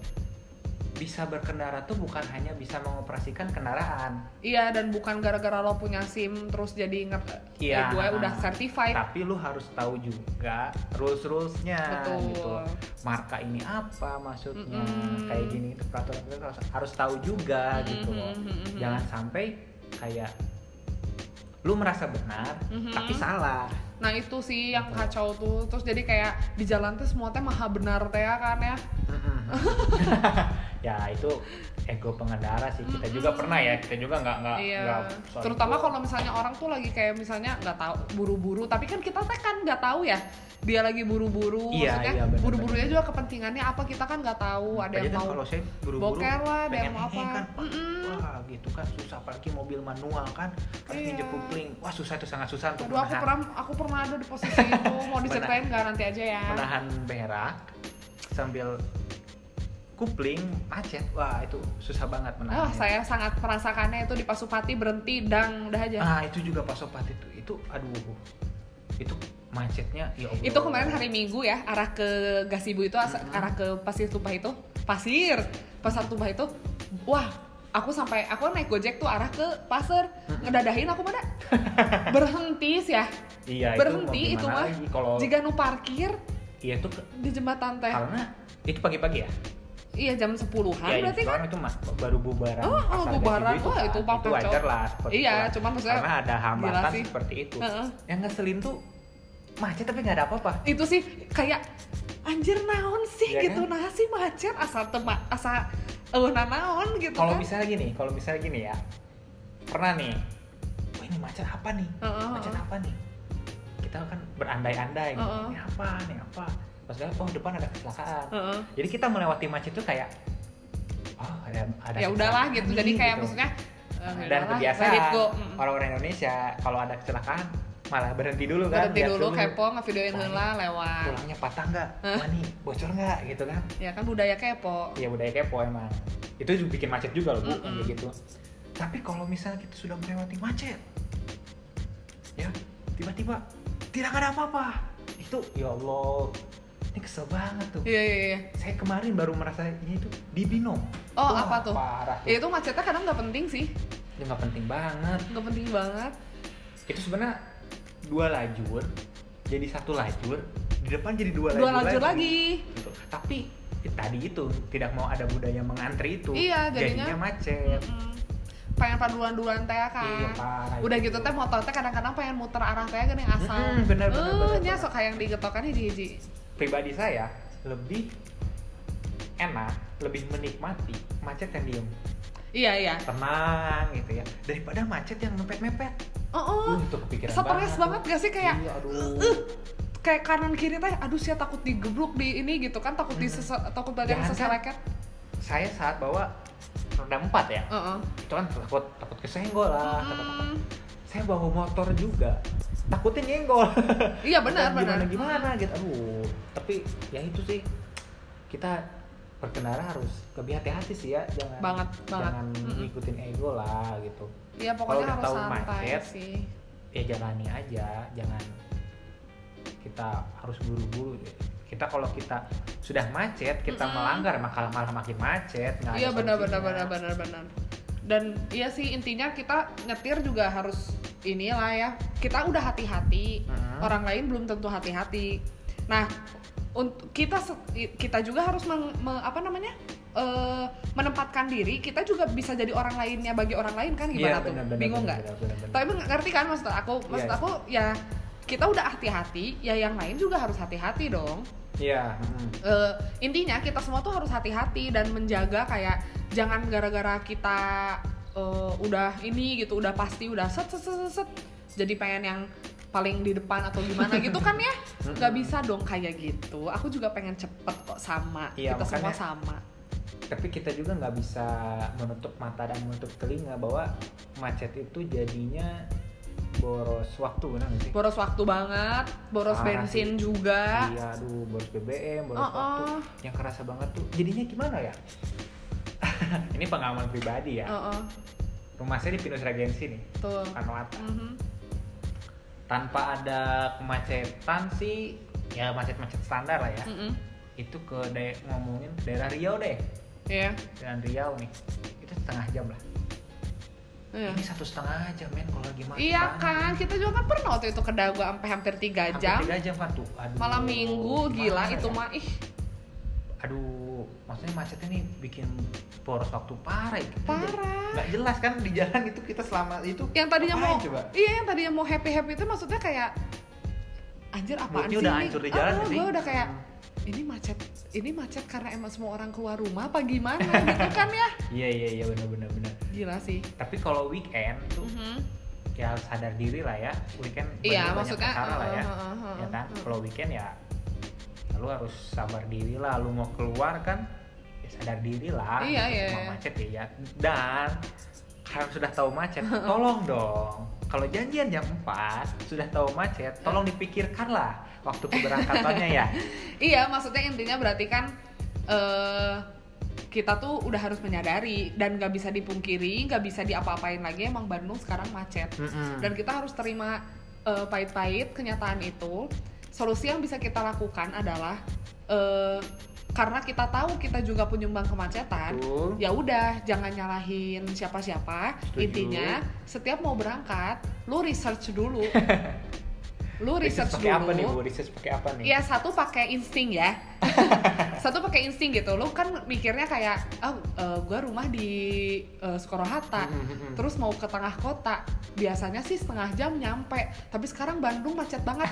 bisa berkendara tuh bukan hanya bisa mengoperasikan kendaraan iya dan bukan gara-gara lo punya sim terus jadi inget eh, Iya. Nah, gue udah certified tapi lu harus tahu juga rules rulesnya betul gitu marka ini apa maksudnya Mm-mm. kayak gini itu peraturan kita harus, harus tahu juga gitu Mhm, loh mhm, mhm. jangan sampai kayak lu merasa benar Mhm. tapi salah nah itu sih yang Betul. kacau tuh terus jadi kayak di jalan tuh semua teh maha benar teh ya kan ya Mm-mm. [LAUGHS] ya itu ego pengendara sih kita juga Mm-mm. pernah ya kita juga nggak nggak Iya. nggak soal Terutama itu. kalau misalnya orang tuh lagi kayak misalnya nggak tahu buru-buru, tapi kan kita teh kan nggak tahu ya dia lagi buru-buru, Iya, maksudnya iya, benar, buru-burunya juga kepentingannya apa kita kan nggak tahu. Ada Aja yang kan mau kalau saya buru-buru boker lah, ada pengen yang mau apa. ini kan, wah, Mm-mm. wah, gitu kan susah apalagi mobil manual kan harus Iya. nginjek kupling wah susah itu sangat susah untuk Aduh, aku menahan pernah aku pernah ada di [LAUGHS] posisi itu mau diceritain nggak nanti aja ya. menahan berak sambil kupling macet wah itu susah banget menahan Oh, saya sangat merasakannya itu di Pasupati berhenti dang udah aja. ah itu juga pas opat itu itu aduh itu macetnya ya Allah. Itu kemarin hari Minggu ya, arah ke Gasibu itu, as- Mhm. arah ke Pasir Tumpah itu, Pasir, Pasar Tumpah itu, wah, aku sampai aku naik gojek tuh arah ke pasar, ngedadahin aku [LAUGHS] mana? Berhenti sih ya, iya, berhenti itu mau mah. gimana lagi kalau jika nu parkir iya itu ke- di jembatan teh, karena itu pagi-pagi ya iya jam 10-an ya berarti itu kan? kan itu mas baru bubaran Oh, oh, pasar Jati bubaran. Bui Wah, itu kan. Pak itu Kacau. wajar lah seperti Iya, itu lah. cuman maksudnya karena ada hambatan sih. seperti itu Heeh. yang ngeselin tuh macet tapi nggak ada apa-apa Itu sih kayak anjir naon sih Iya gitu, nah sih macet asal tema asal euna naon gitu kalau kan? misalnya gini kalau misalnya gini ya pernah nih wah ini macet apa nih Heeh, macet heeh. apa nih kita kan berandai-andai gitu. Heeh. ini apa nih apa pas lihat, oh depan ada kecelakaan Heeh. jadi kita melewati macet tuh kayak oh ada ada ya udahlah kecelakaan gitu nih, jadi kayak gitu. maksudnya eh, dan udahlah, let it kebiasaan go. Mm. orang-orang Indonesia kalau ada kecelakaan malah berhenti dulu kan berhenti lihat dulu kepo ngevideoin Wah, heula lewat tulangnya patah nggak wah nih bocor nggak gitu kan ya kan budaya kepo ya budaya kepo emang itu juga bikin macet juga loh bu Mm-mm. kayak gitu tapi kalau misalnya kita sudah melewati macet ya tiba-tiba tidak ada apa-apa itu ya Allah ini kesel banget tuh iya iya iya saya kemarin baru merasa ini tuh di binom Oh, Wah, apa tuh? parah ya itu macetnya kadang nggak penting sih itu nggak penting banget nggak penting banget itu sebenarnya dua lajur jadi satu lajur di depan jadi dua, dua lanjut lagi Gitu. tapi eh, tadi itu tidak mau ada budaya mengantri itu Iya, jadinya- macet Mm. pengen paduan-duan teh Iya, kan parah udah itu. gitu teh motor teh kadang-kadang pengen muter arah teh gini asal Mm-mm, bener, bener, Eh, bener, nya bener. sok hayang digetokan hiji-hiji pribadi saya lebih enak lebih menikmati macet yang diem iya iya tenang gitu ya daripada macet yang mepet mepet Oh, oh. Untuk kepikiran Stres banget gak sih kayak Iya, aduh. "Eh, uh, eh." kayak kanan kiri teh aduh sih takut digeblok di ini gitu kan takut di Mhm. takut badan Jangan keseleket. Saya saat bawa roda empat ya, Heeh. itu kan takut takut kesenggol lah. takut apa. Uh-uh. Mm, Saya bawa motor juga, takutnya nyenggol. Iya benar benar. Gimana gimana gitu. Aduh, tapi ya itu sih kita berkendara harus lebih hati-hati sih ya, jangan Banget, banget. jangan Mm-mm. ngikutin ego lah gitu. Iya pokoknya udah harus tahu santai mindset, sih. ya jalani aja jangan kita harus buru-buru kita kalau kita sudah macet kita Mm-mm. melanggar maka malah makin macet nggak ada Iya benar benar solusinya. benar benar benar. Dan iya sih intinya kita nyetir juga harus inilah ya. Kita udah hati-hati, Mm-mm. orang lain belum tentu hati-hati. Nah, untuk kita se- kita juga harus meng- me- apa namanya? eh, menempatkan diri, kita juga bisa jadi orang lainnya bagi orang lain kan Iya, gimana tuh? benar, benar, Bingung benar, nggak? benar, benar, benar. Tapi emang ngerti kan maksud aku? Maksud Iya. aku ya kita udah hati-hati, ya yang lain juga harus hati-hati dong. iya mm-mm. Eh, intinya kita semua tuh harus hati-hati dan menjaga kayak jangan gara-gara kita eh, udah ini gitu udah pasti udah set set set set, set, jadi pengen yang paling di depan atau [LAUGHS] gimana gitu kan ya nggak bisa dong kayak gitu aku juga pengen cepet kok sama Iya, kita semua makanya- sama tapi kita juga nggak bisa menutup mata dan menutup telinga bahwa macet itu jadinya boros waktu benar nggak sih boros waktu banget boros Parah bensin juga Ah, iya aduh boros BBM boros Oh, waktu oh. yang kerasa banget tuh jadinya gimana ya [LAUGHS] ini pengalaman pribadi ya Ah, Heeh, rumah saya di Pinus Regensi nih tuh Kanoata Mhm. tanpa ada kemacetan sih ya macet-macet standar lah ya Mm-mm. itu ke dae- ngomongin ke daerah Riau deh Iya, daerah Riau nih itu setengah jam lah iya. ini satu setengah jam men kalau lagi macet Iya banget. kan, kita juga kan pernah waktu itu ke Dago sampai hampir 3 Hampir jam. tiga jam kan tuh aduh Malam minggu, gila gimana itu ya? mah ih aduh maksudnya macet ini bikin boros waktu parah ya. Kita jadi- parah. nggak jelas kan di jalan itu kita selama itu yang tadinya ngapain mau coba iya yang tadinya mau happy happy itu maksudnya kayak anjir apaan Moodnya sih udah ini? hancur di jalan Ah, nggak sih? gue udah kayak ini macet ini macet karena emang semua orang keluar rumah apa gimana gitu kan ya iya iya iya benar benar benar gila sih tapi kalau weekend itu Mhm. ya harus sadar diri lah ya weekend iya banyak- banyak maksudnya perkara lah ya uh, uh, uh, uh, ya kan uh. kalau weekend ya ya lu harus sabar diri lah lu mau keluar kan ya sadar diri lah Iya, iya, mau iya. macet ya, ya dan kalau sudah tahu macet tolong dong kalau janjian jam 4 sudah tahu macet tolong dipikirkan lah waktu keberangkatannya ya iya maksudnya intinya berarti kan eh kita tuh udah harus menyadari dan nggak bisa dipungkiri nggak bisa diapa-apain lagi emang Bandung sekarang macet [LAUGHS] Mm-mm. dan kan? kita harus terima eh, pahit-pahit kenyataan itu solusi yang bisa kita lakukan adalah eh, karena kita tahu kita juga penyumbang kemacetan Betul. ya udah jangan nyalahin siapa-siapa Setuju. intinya setiap mau berangkat lu research [LAUGHS] dulu lu Research research pakai apa nih bu dulu research pakai apa nih Iya satu pakai insting [LAUGHS] ya satu pakai insting gitu lu kan mikirnya kayak oh eh, gua rumah di eh, Soekarno-Hatta Mm-mm. terus mau ke tengah kota biasanya sih setengah jam nyampe tapi sekarang Bandung macet banget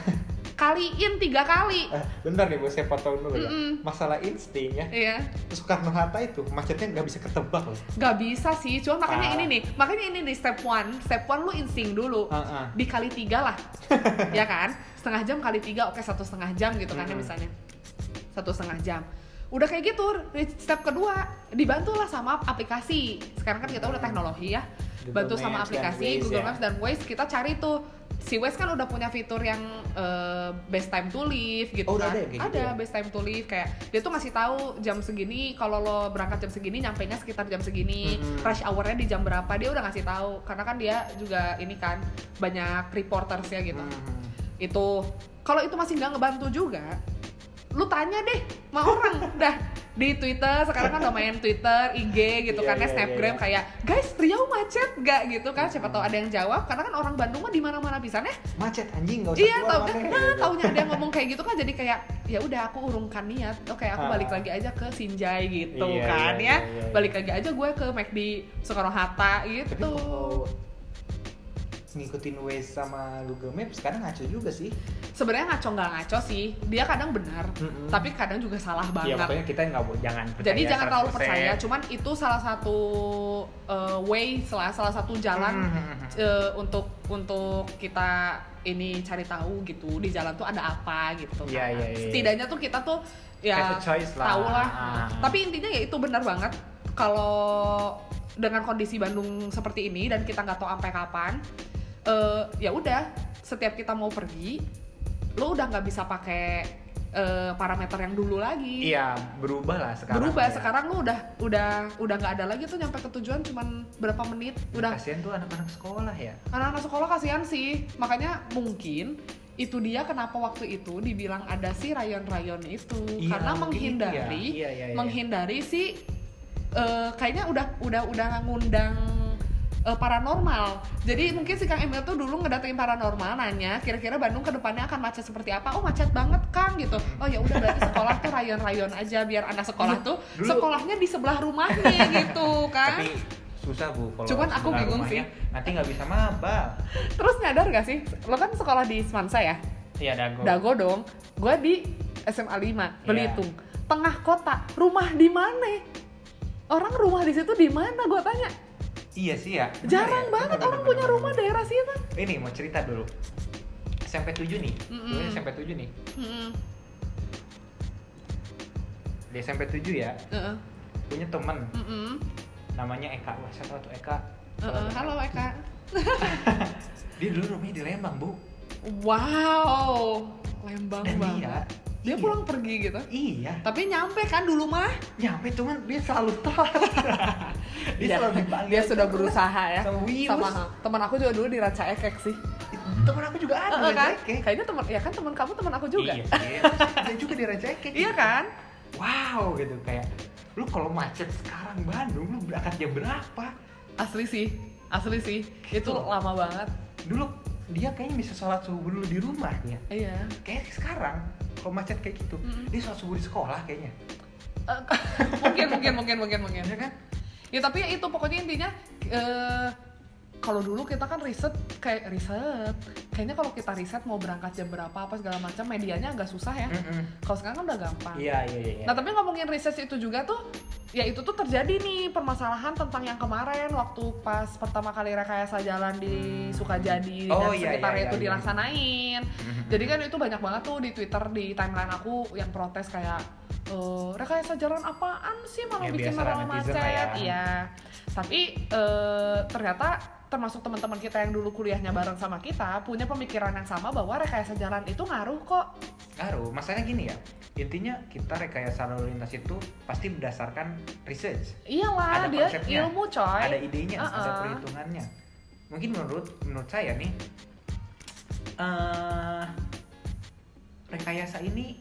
kaliin tiga kali Eh, bentar nih bu saya potong dulu ya Mm-mm. masalah insting ya iya Soekarno Hatta itu macetnya nggak bisa ketebak loh nggak bisa sih cuma makanya Parah. ini nih makanya ini nih step one step one lu insting dulu Heeh. dikali tiga [LAUGHS] lah ya kan setengah jam kali tiga oke satu setengah jam gitu kan ya Mm-mm. misalnya satu setengah jam udah kayak gitu step kedua dibantulah sama aplikasi sekarang kan kita udah Mm. teknologi ya Google bantu sama Maps dan aplikasi Waze Google ya. Maps dan Waze kita cari tuh si Waze kan udah punya fitur yang eh, best time to leave gitu Oh, udah kan ada ya kayak gitu ya? best time to leave kayak dia tuh ngasih tahu jam segini kalau lo berangkat jam segini nyampe nya sekitar jam segini Mhm. rush hournya di jam berapa dia udah ngasih tahu karena kan dia juga ini kan banyak reportersnya gitu Mm-mm. itu kalau itu masih nggak ngebantu juga lu tanya deh sama [LAUGHS] orang dah di Twitter sekarang kan lumayan Twitter, IG gitu Iya, kan ya, iya, iya, Snapgram iya. kayak guys Riau macet gak gitu kan siapa tahu ada yang jawab karena kan orang Bandung mah di mana-mana pisannya macet anjing nggak usah iya keluar tau kan makanya, nah, gitu. taunya ada yang ngomong kayak gitu kan jadi kayak ya udah aku urungkan niat oke aku Ah. balik lagi aja ke Sinjai gitu Iya, kan ya iya, iya, iya. gitu. balik lagi aja gue ke McD Soekarno Hatta Tapi gitu kalau ngikutin Waze sama Google Maps kadang ngaco juga sih. Sebenarnya ngaco nggak ngaco sih, dia kadang benar, Mm-mm. tapi kadang juga salah Hmm. banget. Iya makanya kita nggak bo- jangan percaya. Jadi jangan terlalu 100%. percaya, cuman itu salah satu eh, way, salah salah satu jalan Mm-mm. eh, untuk untuk kita ini cari tahu gitu di jalan tuh ada apa gitu. kan. Iya, iya, iya. Setidaknya tuh kita tuh ya Have a choice lah. tahu lah. Ah. Tapi intinya ya itu benar banget kalau dengan kondisi Bandung seperti ini dan kita nggak tahu sampai kapan, eh, ya udah setiap kita mau pergi, lo udah nggak bisa pakai eh, parameter yang dulu lagi Iya berubah lah sekarang. berubah ya. sekarang lu udah udah udah nggak ada lagi tuh nyampe ke tujuan cuman berapa menit udah Kasihan tuh anak-anak sekolah ya. anak-anak sekolah kasihan sih makanya mungkin itu dia kenapa waktu itu dibilang ada si rayon-rayon itu Iya, karena mungkin itu menghindari ya. Iya, iya, iya. menghindari si eh, kayaknya udah udah udah ngundang eh, paranormal jadi mungkin si Kang Emil tuh dulu ngedatengin paranormal nanya kira-kira Bandung kedepannya akan macet seperti apa oh macet banget Kang gitu oh ya udah berarti sekolah tuh rayon-rayon aja biar anak sekolah tuh Dulu- sekolahnya di sebelah [LAUGHS] rumahnya gitu kan Tapi susah bu kalau Cuman aku sebelah bingung rumahnya, Nanti nggak bisa mabal. terus nyadar gak sih lo kan sekolah di Semansa ya Iya dago. Dago dong. Gua di SMA Iya. 5 Belitung. Tengah kota. Rumah di mana? Orang rumah di situ di mana? Gua tanya. Iya sih ya. Bener Jarang ya? banget Bener, orang bener, punya bener, rumah bener. daerah situ. Ini mau cerita dulu. SMP 7 nih. Mm-mm. Dulu SMP 7 nih. Heeh. Di SMP 7 ya Heeh. punya temen Heeh. namanya Eka. Wah, saya tahu tuh Eka. Heeh. Eh, Uh-uh. Halo Eka. Dia dulu rumahnya di Lembang, Bu. Wow. Lembang Dan banget. Dia iya. pulang pergi gitu. Iya, Tapi nyampe kan dulu mah. nyampe cuman dia selalu [LAUGHS] telat. dia Iya. selalu dipanggil. Dia sudah berusaha ya. Sama Wius. teman aku juga dulu di Raca Ekek sih. temen aku juga ada Heeh, kan? recekek Kayaknya teman ya kan teman kamu teman aku juga. Iya, sih. [LAUGHS] dia juga direcekek iya kan? wow gitu kayak lu kalau macet sekarang Bandung lu berangkat jam berapa? Asli sih, asli sih. Itu Gitu. lama banget. Dulu dia kayaknya bisa sholat subuh dulu di rumah ya. Iya. Kayak sekarang kalau macet kayak gitu, Mm-mm. dia sholat subuh di sekolah kayaknya. Eh, [LAUGHS] mungkin mungkin mungkin mungkin mungkin. Iya kan? Ya tapi ya itu pokoknya intinya eh kalau dulu kita kan riset kayak riset. Kayaknya kalau kita riset mau berangkat jam berapa apa segala macam medianya agak susah ya. Mm-mm. Kalau sekarang kan udah gampang. Iya iya iya. iya. Nah tapi ngomongin riset itu juga tuh ya itu tuh terjadi nih permasalahan tentang yang kemarin waktu pas pertama kali rekayasa jalan di Hmm. Sukajadi Oh, dan iya, sekitarnya iya, itu iya, iya. dilaksanain. Jadi kan itu banyak banget tuh di Twitter di timeline aku yang protes kayak "Eh, rekayasa jalan apaan sih malah Ya, bikin biasa lah, orang macet. netizen lah ya. Iya. Tapi eh, ternyata termasuk teman-teman kita yang dulu kuliahnya bareng sama kita punya pemikiran yang sama bahwa rekayasa jalan itu ngaruh kok. Ngaruh, masalahnya gini ya. Intinya kita rekayasa lalu lintas itu pasti berdasarkan research. Iyalah Ada dia konsepnya, ilmu coy. ada idenya, ada Uh-uh. perhitungannya. Mungkin menurut menurut saya nih, eh rekayasa ini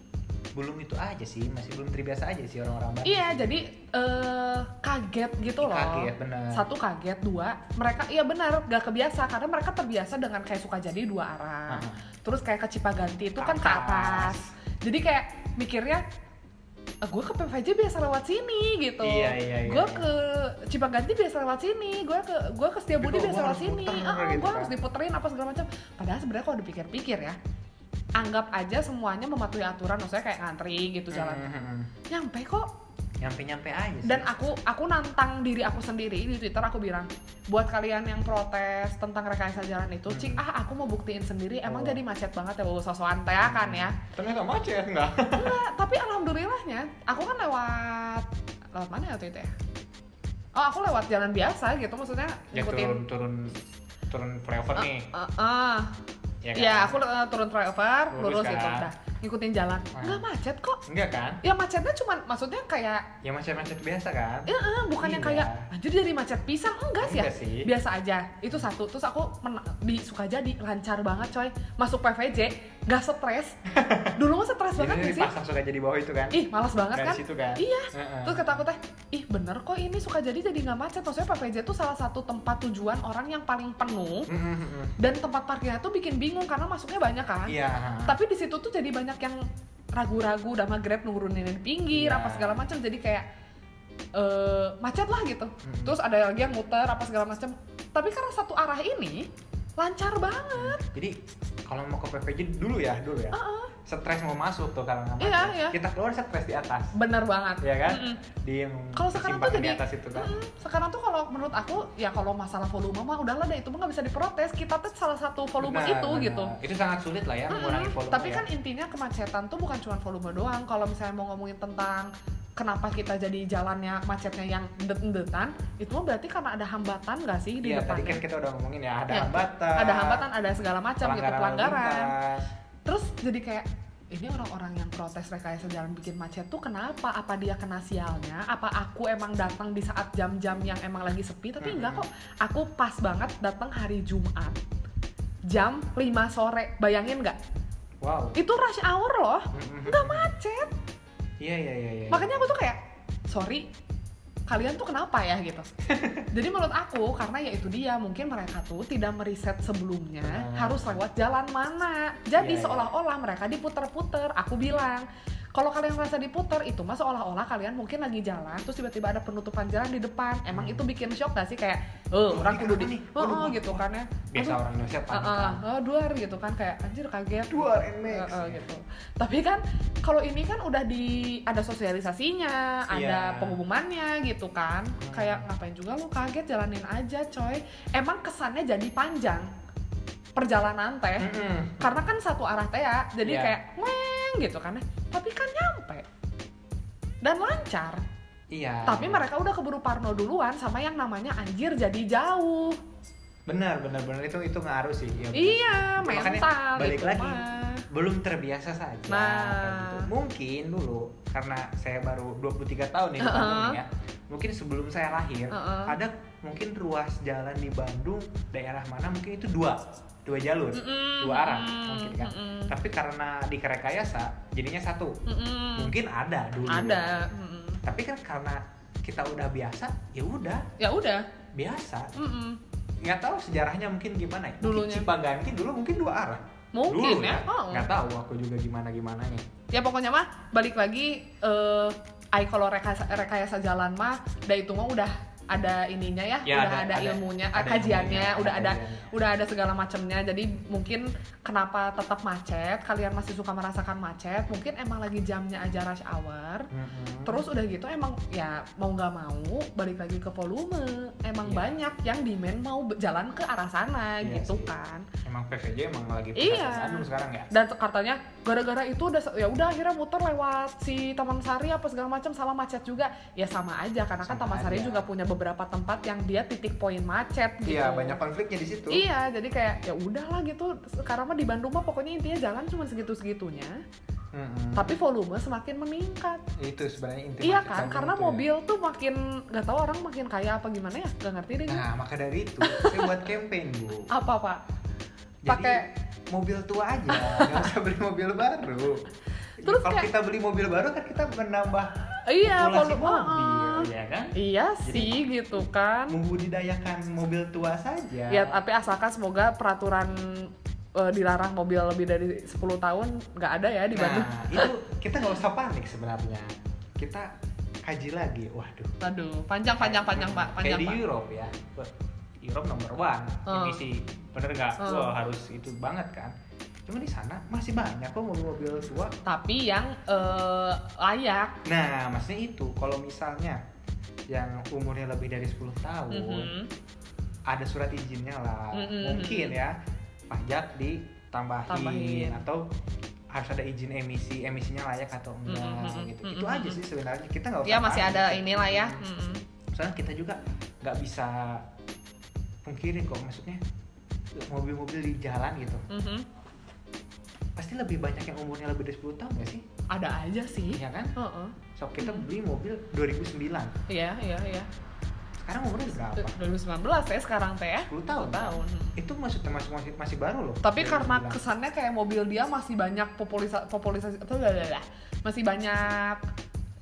belum itu aja sih, masih belum terbiasa aja sih orang-orang Bandung. Iya, jadi eh, kaget gitu loh. Kaget, bener. Satu kaget, dua mereka iya benar gak kebiasa karena mereka terbiasa dengan kayak suka jadi dua arah. Aha. Terus kayak ke Cipaganti nah, itu Ke kan ke atas. atas. Jadi kayak mikirnya gue ke PVJ biasa lewat sini gitu. Iya, iya, iya. Gue ke Cipaganti biasa lewat sini. Gue ke gue ke Setiabudi Tapi kok biasa gua lewat harus sini. muter Ah, ah, gitu gue kan? harus diputerin apa segala macam. Padahal sebenarnya kalau dipikir-pikir ya, anggap aja semuanya mematuhi aturan. Maksudnya kayak ngantri Hmm. gitu jalan. Mm-mm. Nyampe kok Nyampe-nyampe aja sih. dan aku aku nantang diri aku sendiri di Twitter aku bilang buat kalian yang protes tentang rekayasa jalan itu cik Hmm. ah aku mau buktiin sendiri emang Oh. jadi macet banget ya bawa sosokan teh kan ya ternyata macet enggak? Nah, tapi alhamdulillahnya aku kan lewat lewat mana ya waktu itu ya oh aku lewat jalan biasa gitu maksudnya Ya turun ngikutin turun turun flyover Eh, nih. eh, eh. Ya, kan? ya aku eh, turun flyover lurus, Lurus gitu kan? dah ngikutin jalan Ah. nggak macet kok Enggak kan? ya macetnya cuman maksudnya kayak Ya macet-macet biasa kan? Eh, eh, bukan yang Iya. kayak anjir jadi macet pisan enggak sih ya Enggak sih. biasa aja itu satu terus aku men- di Sukajadi lancar banget coy masuk PVJ gak [LAUGHS] stres dulu mah stres banget Jadi gak dia kan sih dipasang suka jadi bawah itu kan? ih malas banget Dari kan situ kan? iya Heeh. terus kata aku teh ih bener kok ini Sukajadi jadi nggak macet maksudnya PVJ tuh salah satu tempat tujuan orang yang paling penuh Mm-mm, mm-mm. dan tempat parkirnya tuh bikin bingung karena masuknya banyak kan hmm. Iya. tapi di situ tuh jadi banyak yang ragu-ragu udah mah grab nurunin di pinggir Iya. apa segala macam jadi kayak eh, macet lah gitu Mm-mm. terus ada lagi yang muter apa segala macam tapi karena satu arah ini lancar banget Jadi kalau mau ke PPJ dulu ya, dulu ya. Stres mau masuk tuh kalau nggak Iya, masuk. iya. Kita keluar stres di atas. bener banget Iya kan? Mm-mm. Di Kalau sekarang tuh simpangan di jadi- hmm, atas itu kan. Mm-mm. sekarang tuh kalau menurut aku ya kalau masalah volume mah udahlah deh itu mah nggak bisa diprotes kita tuh salah satu volume Benar, itu benar. gitu Itu sangat sulit lah ya mengurangi Mm-mm. volume. tapi ya. kan intinya kemacetan tuh bukan cuma volume doang kalau misalnya mau ngomongin tentang kenapa kita jadi jalannya macetnya yang det-detan itu mah berarti karena ada hambatan nggak sih di Iya, tadi kan depannya kita udah ngomongin ya, ada Iya. hambatan. ada hambatan ada segala macam gitu lalu pelanggaran lintas. terus jadi kayak ini orang-orang yang protes rekayasa jalan bikin macet tuh kenapa? Apa dia kena sialnya? Apa aku emang datang di saat jam-jam yang emang lagi sepi? Tapi enggak Mm-mm. kok, aku pas banget datang hari Jumat jam 5 sore, bayangin nggak? Wow. Hmm, Itu rush hour loh, Enggak macet. Iya, iya, iya, iya. Makanya aku tuh kayak, sorry, kalian tuh kenapa ya gitu? Jadi menurut aku karena ya itu dia mungkin mereka tuh tidak meriset sebelumnya Hmm. harus lewat jalan mana. Jadi Iya, iya. seolah-olah mereka diputer-puter. Aku bilang kalau kalian merasa diputer itu mah seolah-olah kalian mungkin lagi jalan terus tiba-tiba ada penutupan jalan di depan. Emang Hmm. itu bikin shock gak sih kayak eh orang ini kudu kenapa di nih? oh, Waduh, oh, gua- gitu kan ya. biasa Aduh, orang Indonesia panik Heeh, kan. oh, duar gitu kan kayak anjir kaget Duar and mix. Heeh, gitu. Tapi kan kalau ini kan udah di ada sosialisasinya, ada Iya. pengumumannya gitu kan. Hmm. Kayak ngapain juga lu kaget jalanin aja coy. Emang kesannya jadi panjang perjalanan teh. Mm-mm. Eh, Karena kan satu arah teh ya. Jadi Hmm. Iya. kayak weng gitu kan. ya. Tapi kan nyampe. Dan lancar. Iya. Tapi mereka udah keburu parno duluan sama yang namanya anjir jadi jauh. benar benar benar itu itu ngaruh sih. Iya. benar. Iya, Makanya mental balik itu lagi. mah. Belum terbiasa saja. Nah. kayak gitu. Mungkin dulu karena saya baru 23 tahun nih di Heeh. Bandung nih ya. Mungkin sebelum saya lahir Heeh. ada mungkin ruas jalan di Bandung daerah mana mungkin itu dua dua jalur Mm-mm, dua arah mm-mm, mungkin kan mm-mm. tapi karena di rekayasa jadinya satu Mm-mm. mungkin ada dulu Mm. ya. ada mm-mm. tapi kan karena kita udah biasa ya udah ya udah biasa mm-mm. nggak tahu sejarahnya mungkin gimana ya Dulunya. mungkin Cipaganti dulu mungkin dua arah mungkin dulu ya, oh. nggak tahu aku juga gimana gimananya ya pokoknya mah balik lagi eh ai kalau rekayasa, rekayasa jalan mah da itu mah udah ada ininya ya, udah Ya, ada, ada- ada- ilmunya ah, ada kajiannya ilmunya, udah ada ada kajiannya. udah ada segala macamnya jadi mungkin kenapa tetap macet kalian masih suka merasakan macet mungkin emang lagi jamnya aja rush hour Mm-mm. Terus udah gitu emang ya mau nggak mau balik lagi ke volume emang Iya. banyak yang demand mau be- jalan ke arah sana Iya gitu sih. kan emang PVJ emang lagi Iya. pusat Bandung sekarang ya dan katanya gara-gara itu udah ya udah akhirnya muter lewat si Taman Sari apa segala macam sama macet juga ya sama aja karena kan Sama Taman Sari aja. juga punya beberapa tempat yang dia titik poin macet gitu iya banyak konfliknya di situ Iya, jadi kayak ya udahlah gitu. Sekarang mah di Bandung mah pokoknya intinya jalan cuma segitu-segitunya, Hmm. Mm-mm. tapi volume semakin meningkat. itu sebenarnya inti Iya kan, macet Bandung karena itu ya. mobil tuh makin nggak tahu orang makin kaya apa gimana ya, nggak ngerti deh. gue. nah maka dari itu saya buat campaign [LAUGHS] bu Apa pak? Jadi, Pakai- mobil tua aja nggak usah beli mobil baru Terus kalau kayak- kita beli mobil baru kan kita menambah Iya, populasi volume. mobil Heeh. ya kan Iya Jadi- sih gitu kan. membudidayakan mobil tua saja Ya tapi asalkan semoga peraturan eh, dilarang mobil lebih dari 10 tahun nggak ada ya di Bandung. nah itu kita nggak usah panik sebenarnya kita kaji lagi waduh Aduh, panjang panjang panjang pak, panjang kayak di pak. Europe ya Wah, Europe nomor one Oh. emisi bener nggak Oh. Wah, harus itu banget kan cuma di sana masih banyak kok mobil-mobil tua Tapi yang eh, layak. nah maksudnya itu kalau misalnya yang umurnya lebih dari 10 tahun Mhm. ada surat izinnya lah Mm-mm. mungkin ya pajak ditambahin Tambahin. atau harus ada izin emisi emisinya layak atau enggak Mm-mm. gitu Mm-mm. itu aja sih sebenarnya kita nggak usah Ya masih panik. ada inilah ya. Mhm. soalnya kita juga nggak bisa pungkiri kok maksudnya mobil-mobil di jalan gitu Mhm. pasti lebih banyak yang umurnya lebih dari 10 tahun nggak sih Ada aja sih. iya kan Heeh. so kita Hmm. beli mobil 2009 Iya, iya, iya. sekarang umurnya udah berapa 2019 ya sekarang teh ya. 10 tahun 10 tahun. itu masih masih masih, masih baru loh Tapi karena 2009. kesannya kayak mobil dia masih banyak populisa populisasi atau blablabla. masih banyak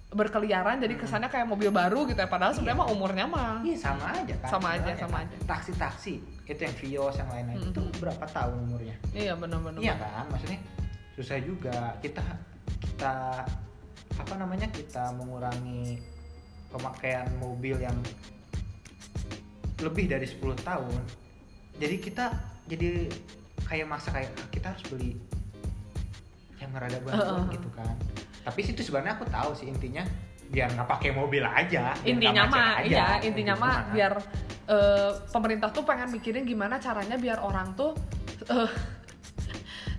berkeliaran jadi Hmm. kesannya kayak mobil baru gitu ya padahal sebenarnya Iya. mah umurnya mah Iya sama aja kan. Ah. Sama aja, sebenarnya sama kan. aja. Taksi-taksi itu yang Vios yang lain-lain Mm-mm. itu berapa tahun umurnya? iya benar-benar Iya kan, maksudnya susah juga kita kita apa namanya kita mengurangi pemakaian mobil yang lebih dari 10 tahun. Jadi kita jadi kayak masa kayak "Ah, kita harus beli yang rada bantuan Heeh. gitu kan tapi sih itu sebenarnya aku tahu sih intinya biar nggak pakai mobil aja biar intinya nggak macet mah aja, iya kayak intinya gitu mah kan. biar eh, pemerintah tuh pengen mikirin gimana caranya biar orang tuh eh,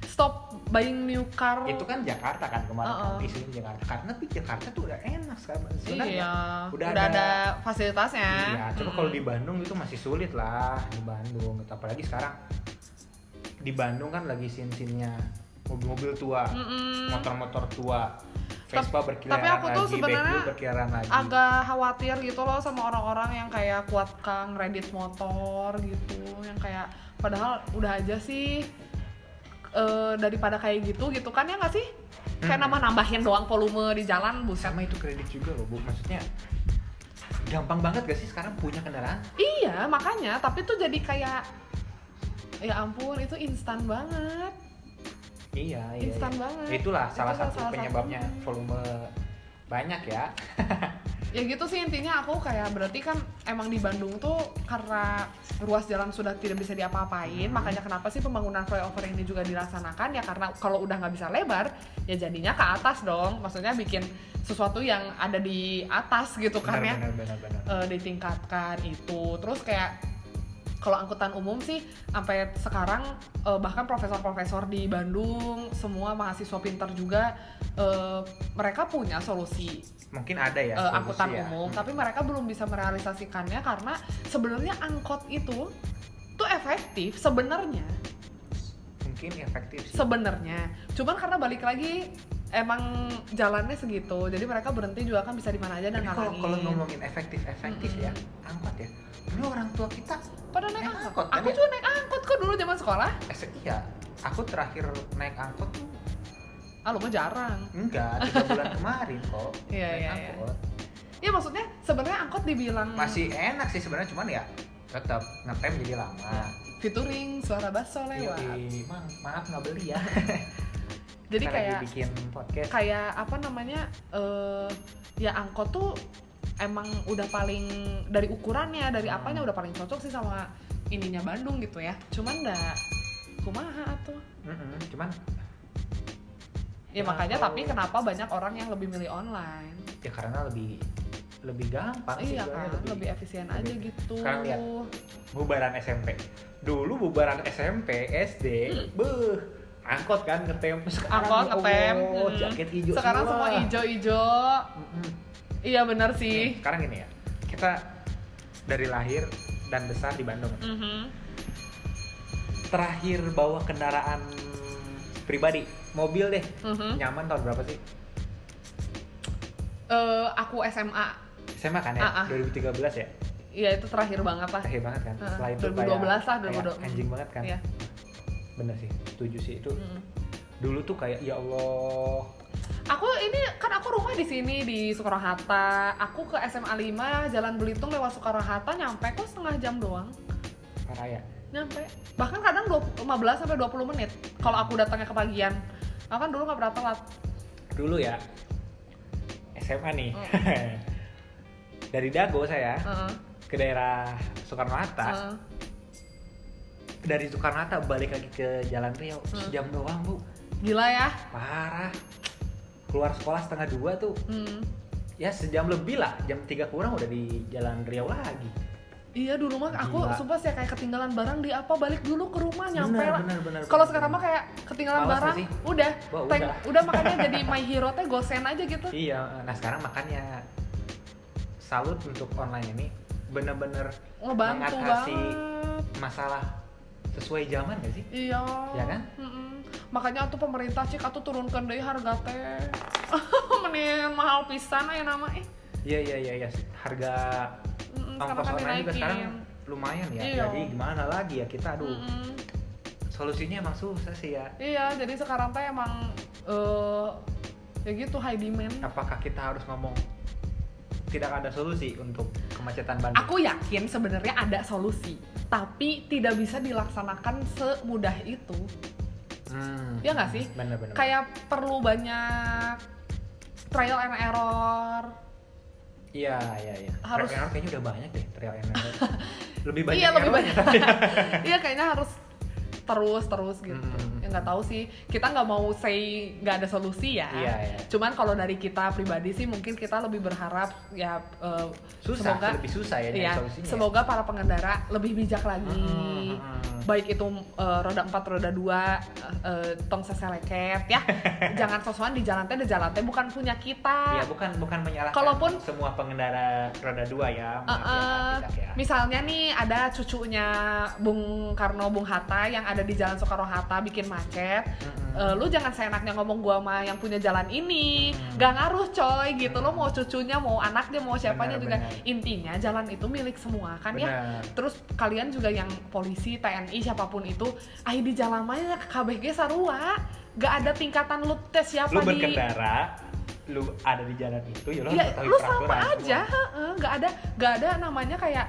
stop buying new car itu kan Jakarta kan kemarin Heeh. kan isunya Jakarta karena tapi Jakarta tuh udah enak sekarang sebenarnya iya udah udah, ada- ada, fasilitasnya Iya, coba Mm. kalau di Bandung itu masih sulit lah di Bandung. Apalagi sekarang di Bandung kan lagi sin-sinnya mobil-mobil tua, Mm-mm. motor-motor tua, Vespa Hmm. berkeliaran tapi aku tuh lagi, sebenarnya BlackBerry berkeliaran lagi. agak khawatir gitu loh sama orang-orang yang kayak kuat kang Reddit motor gitu yang kayak padahal udah aja sih eh, daripada kayak gitu gitu kan ya nggak sih kayak Hmm. nambah-nambahin doang volume di jalan buset Sama itu kredit juga loh, Bu. Maksudnya gampang banget gak sih sekarang punya kendaraan? iya makanya tapi tuh jadi kayak ya ampun itu instan banget Iya, iya. Instan iya. banget. Itulah salah Itulah satu salah penyebabnya satunya. volume banyak ya. ya gitu sih intinya aku kayak berarti kan emang di Bandung tuh karena ruas jalan sudah tidak bisa diapa-apain Hmm. makanya kenapa sih pembangunan flyover ini juga dilaksanakan ya karena kalau udah nggak bisa lebar ya jadinya ke atas dong maksudnya bikin sesuatu yang ada di atas gitu kan ya Benar, benar, benar. eh, ditingkatkan itu terus kayak kalau angkutan umum sih sampai sekarang eh, bahkan profesor-profesor di Bandung semua mahasiswa pintar juga eh, mereka punya solusi Mungkin ada ya eh, solusi angkutan ya. umum, Hmm. tapi mereka belum bisa merealisasikannya karena sebenarnya angkot itu tuh efektif sebenarnya, mungkin efektif sih. sebenarnya. Cuman karena balik lagi emang jalannya segitu, jadi mereka berhenti juga kan bisa di mana aja dan Tapi kalau ngalangin. kalau ngomongin efektif efektif ya, angkot ya. Dulu orang tua kita pada naik naik angkot, angkot kan aku ya? juga naik angkot kok dulu zaman sekolah. eh, iya, aku terakhir naik angkot tuh Ah, lu mah jarang. enggak tiga bulan [LAUGHS] kemarin kok Iya, naik iya, iya. Hmm. angkot. Ya maksudnya sebenarnya angkot dibilang Masih enak sih sebenarnya cuman ya tetap ngetem jadi lama. featuring suara basso lewat. Yoi, Mang, maaf nggak beli ya. Jadi Kita kayak lagi bikin podcast. kayak apa namanya eh ya angkot tuh emang udah paling dari ukurannya dari Hmm. apanya udah paling cocok sih sama ininya Bandung gitu ya cuman nda kumaha tuh Mm-mm, cuman ya Ya, makanya kalau- tapi kenapa banyak orang yang lebih milih online ya karena lebih lebih gampang sih iya sebenarnya, kan lebih, efisien lebih- aja gitu Sekarang lihat. bubaran SMP dulu bubaran SMP SD Hmm. beuh angkot kan ngetem Sekarang, Angkot, ngetem, oh, mm. jaket hijau sekarang semua ijo-ijo Mm-mm. iya bener Nih, sih sekarang gini ya kita dari lahir dan besar di Bandung Mhm. terakhir bawa kendaraan pribadi mobil deh Mhm. nyaman tahun berapa sih Eh, aku SMA SMA kan ya Ah, ah. 2013 ya ya itu terakhir banget lah terakhir banget kan Ah, setelah itu 2012 lah, kayak 2012. anjing banget kan Iya. bener sih setuju sih itu Mhm. dulu tuh kayak ya Allah Aku ini kan aku rumah di sini di Soekarno Hatta. Aku ke SMA 5 Jalan Belitung lewat Soekarno Hatta nyampe kok setengah jam doang. parah ya Nyampe. Bahkan kadang 20 15 sampai 20 menit kalau aku datangnya kepagian. Aku kan dulu nggak pernah telat. dulu ya SMA nih Hmm. [LAUGHS] dari Dago saya Heeh, ke daerah Soekarno Hatta heeh. dari Soekarno Hatta balik lagi ke Jalan Riau Hmm. sejam doang bu Gila ya. parah keluar sekolah setengah dua tuh Hmm. ya sejam lebih lah jam tiga kurang udah di Jalan Riau lagi Iya dulu mah aku Gila. sumpah sih ya, kayak ketinggalan barang di apa balik dulu ke rumah Ah, nyampe Bener, lah. bener, bener, Kalau bener. sekarang mah kayak ketinggalan Malas barang gak sih? udah, Wah, tank- udah. udah makanya jadi my hero teh gosen aja gitu. iya nah sekarang makanya salut untuk online ini bener-bener Ngebantu Mengatasi- banget. masalah sesuai zaman gak sih Iya. Ya kan? Mm-mm. Makanya tuh pemerintah cik atuh turunkan deh harga teh. [LAUGHS] Mending mahal pisan aya nama eh. iya iya iya iya harga Mm-mm, kan ongkos online juga dinaikin. sekarang lumayan ya Iya. jadi gimana lagi ya kita aduh Mm-mm. solusinya emang susah sih ya Iya, jadi sekarang teh emang eh ya gitu high demand. apakah kita harus ngomong tidak ada solusi untuk kemacetan Bandung Aku yakin sebenarnya ada solusi, tapi tidak bisa dilaksanakan semudah itu. Hmm. Iya nggak sih? bener bener Kayak perlu banyak trial and error. iya iya iya Harus- harus error [LAUGHS] kayaknya udah banyak ya. deh trial and error lebih banyak [LAUGHS] Iya, lebih errornya. Iya, kayaknya harus terus terus gitu. Hmm. Ya nggak tahu sih. Kita nggak mau say nggak ada solusi ya. Iya, iya. Cuman kalau dari kita pribadi sih mungkin kita lebih berharap ya eh, susah semoga lebih susah ya nyari ya, solusinya ya. semoga para pengendara lebih bijak lagi. Mm, mm, mm. Baik itu eh, roda 4, roda 2, tong sese leket [LAUGHS] ya. Jangan sosokan di jalan teh, di jalan teh bukan punya kita. Iya, bukan bukan menyalahkan Kalaupun- semua pengendara roda dua ya, maaf ya, Uh-uh. tidak ya. Misalnya nih ada cucunya Bung Karno Bung Hatta yang ada di Jalan Soekarno Hatta bikin macet. Mm-mm. Eh, lu jangan seenaknya ngomong gua sama yang punya jalan ini. Hmm. Gak ngaruh coy gitu. Lo Hmm. mau cucunya, mau anaknya, mau siapanya Benar, juga. benar. Intinya jalan itu milik semua kan ya. Benar. Terus kalian juga yang polisi, TNI, siapapun itu, ayo di jalan mah KBG sarua. Gak ada tingkatan lu tes siapa Lu di berkendara, lu ada di jalan itu, ya lu ya harus tahu lu sama peraturan. aja heeh. nggak ada nggak ada namanya kayak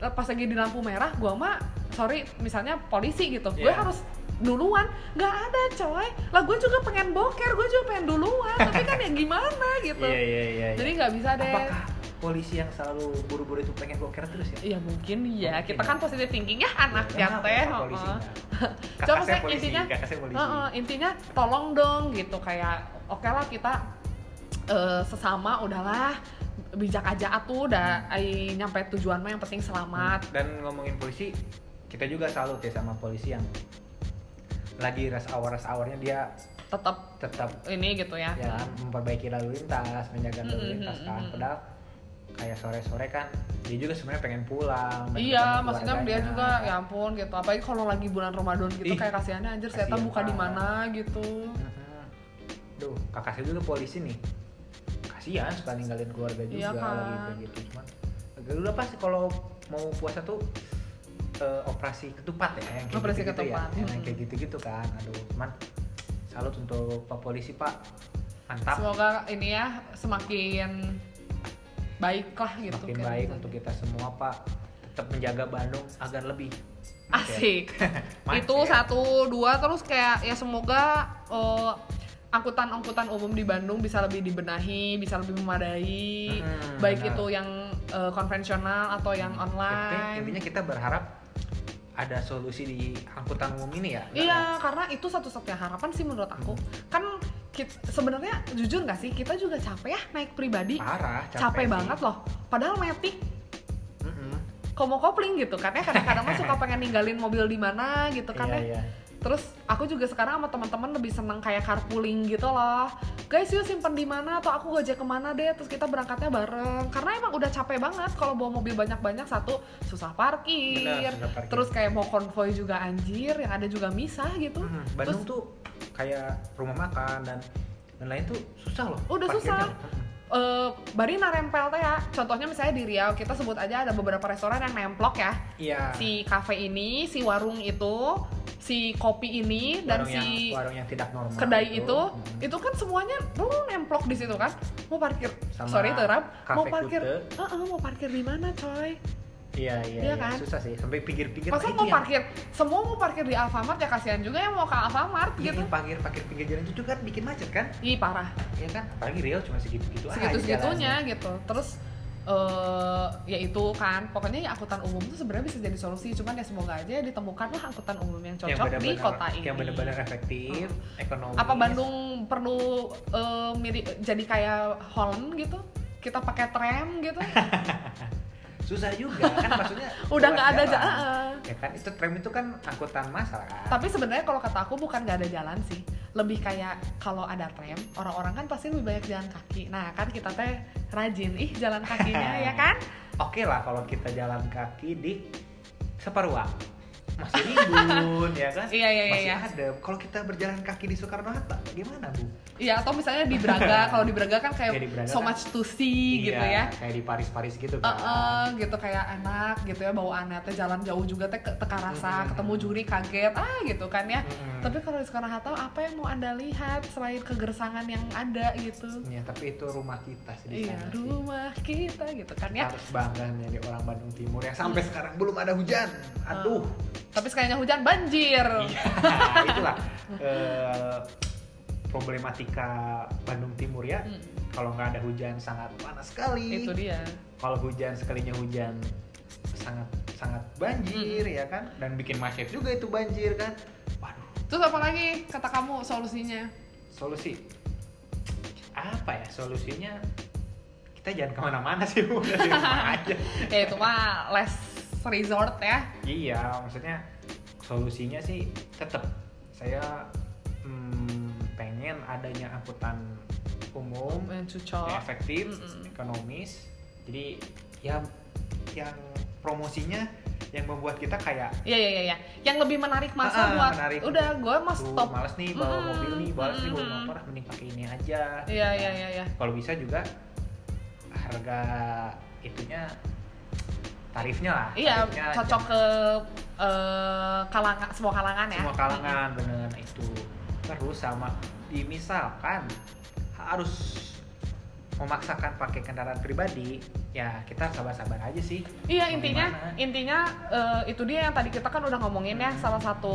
eh, pas lagi di lampu merah gua mah sorry misalnya polisi gitu gue Iya. harus duluan nggak ada coy lah gue juga pengen boker gue juga pengen duluan tapi kan ya gimana gitu Iya, iya, iya. iya. jadi nggak bisa deh Apakah polisi yang selalu buru-buru itu pengen boker terus ya? Iya mungkin ya, Mungkin kita ya. kan positive thinking ya anak ya Ya, kenapa teh. Pak heeh. polisi? Kakak [LAUGHS] Coba saya saya Oh, polisi, intinya, kakak saya polisi. Hmm. Heeh, intinya tolong dong gitu kayak oke lah kita eh, sesama udahlah bijak aja atuh udah ai nyampe tujuan mah yang penting selamat. Dan ngomongin polisi, kita juga salut ya sama polisi yang lagi rush hour rush hournya dia Tetap tetap ini gitu ya. ya kan, memperbaiki lalu lintas menjaga lalu Mm-mm, lintas kan mm-mm. padahal kayak sore-sore kan dia juga sebenarnya pengen pulang pengen Iya, ketemu maksudnya dia keluarganya. juga ya ampun gitu. Apalagi kalau lagi bulan Ramadan gitu Ih, kayak kasihannya anjir saya kasihan buka di banget. mana gitu. Mm-mm. duh kakak saya juga polisi nih kasihan suka ninggalin keluarga juga Iya kan. gitu cuman dulu pas kalau mau puasa tuh eh, operasi ketupat ya yang kayak Operasi gitu-gitu ketupat, ya, yang mm. kayak gitu-gitu kan aduh cuman salut untuk pak polisi pak mantap Semoga ini ya semakin baik lah gitu. makin kayak baik gitu. untuk kita semua pak tetap menjaga Bandung agar lebih [LAUGHS] Asik. [LAUGHS] Macet. Itu satu, dua terus kayak ya semoga eh, angkutan-angkutan umum di Bandung bisa lebih dibenahi, bisa lebih memadai, Hmm, baik benar. itu yang eh, konvensional atau yang online. Intinya- intinya kita berharap ada solusi di angkutan umum ini ya Iya, karena itu satu-satunya harapan sih menurut aku. Kan kit- sebenarnya jujur nggak sih kita juga capek ya naik pribadi, parah capek, banget loh. Padahal metik komo kopling gitu kan ya kadang-kadang mah suka pengen ninggalin mobil di mana gitu kan ya. iya, iya. Terus aku juga sekarang sama teman-teman lebih seneng kayak carpooling gitu loh. Guys, yuk simpen di mana atau aku gojek kemana deh. Terus kita berangkatnya bareng. Karena emang udah capek banget kalau bawa mobil banyak-banyak satu susah parkir. Benar, susah parkir. Terus kayak mau konvoy juga anjir, yang ada juga misah gitu. Mm, Bandung tuh kayak rumah makan dan dan lain tuh susah loh Udah susah. Eh, bari narempel teh ya. Contohnya misalnya di Riau kita sebut aja ada beberapa restoran yang nemplok ya. iya Si kafe ini, si warung itu, si kopi ini dan warung si yang, warung yang tidak normal kedai gitu. itu Mm. itu kan semuanya lu nemplok di situ kan mau parkir Sama sorry terap kafe mau parkir kute. Heeh, mau parkir di mana coy iya iya, Iya iya. kan? susah sih sampai pinggir-pinggir masa mau nah, itu yang- parkir semua mau parkir di Alfamart ya kasihan juga yang mau ke Alfamart Iya, gitu yang parkir parkir pinggir jalan itu juga kan bikin macet kan ih parah Iya kan, apalagi Rio cuma segitu-gitu aja segitu jalannya. segitunya gitu terus eh ya itu kan pokoknya ya angkutan umum tuh sebenarnya bisa jadi solusi cuman ya semoga aja ditemukanlah angkutan umum yang Yang cocok di benar-benar- kota ini Yang benar-benar efektif, ekonomi. apa Bandung perlu eh, mirip jadi kayak Holland gitu kita pakai tram [LAUGHS] gitu Susah juga kan maksudnya. [LAUGHS] udah nggak ada jalan. jalan Ya kan itu tram itu kan angkutan massal kan. tapi sebenarnya kalau kata aku bukan nggak ada jalan sih lebih kayak kalau ada tram orang-orang kan pasti lebih banyak jalan kaki nah kan kita teh rajin ih jalan [LAUGHS] kakinya ya kan Oke lah kalau kita jalan kaki di separuh waktu. Masih ribun ya kan? Iya, iya, iya, Masih iya. ada. Kalau kita berjalan kaki di Soekarno Hatta bagaimana, Bu? iya atau misalnya di [LAUGHS] Braga kalau di Braga kan kayak Ya, di Braga so kan. Iya, much to see gitu ya Kayak di Paris-Paris gitu Eh, kan. eh, gitu kayak enak gitu ya bawaannya teh jalan jauh juga teh ke- teka rasa Mm-mm. ketemu juri kaget ah gitu kan ya Mm-mm. tapi kalau di Soekarno Hatta apa yang mau anda lihat selain kegersangan yang ada gitu Ya, tapi itu rumah kita sih di iya sana sih. Iya. rumah kita gitu kan ya harus bangga menjadi orang Bandung Timur yang Iya. sampai sampai sekarang belum ada hujan Uh-uh. aduh tapi sekalinya hujan banjir Iya, itulah eh, problematika Bandung Timur ya. Hmm, Kalau nggak ada hujan sangat panas sekali itu dia kalau hujan sekalinya hujan sangat sangat banjir ya kan dan bikin macet juga itu banjir kan. Terus apa lagi kata kamu solusinya? solusi apa ya solusinya kita jangan kemana-mana sih udah di [LAUGHS] rumah aja Ya itu mah less resort ya. iya maksudnya solusinya sih tetap saya mm, pengen adanya angkutan umum Yang yang cocok. efektif, Oh. Mm-mm. ekonomis. Jadi ya yang promosinya yang membuat kita kayak Iya iya iya. iya. Yang lebih menarik masa Ah, ah, buat menarik. udah gue mah "Duh, stop. males nih bawa Mm-mm. mobil nih, males nih bawa Mm-mm. motor, ah, mending pakai ini aja. Nah, Iya iya iya iya. Kalau bisa juga harga itunya tarifnya lah. Iya, tarifnya cocok jangan- ke eh, kalangan semua kalangan ya. semua kalangan bener itu. Terus sama di- misalkan harus memaksakan pakai kendaraan pribadi, ya kita sabar-sabar aja sih. Iya Mau intinya gimana? intinya eh, itu dia yang tadi kita kan udah ngomongin ya Hmm. salah satu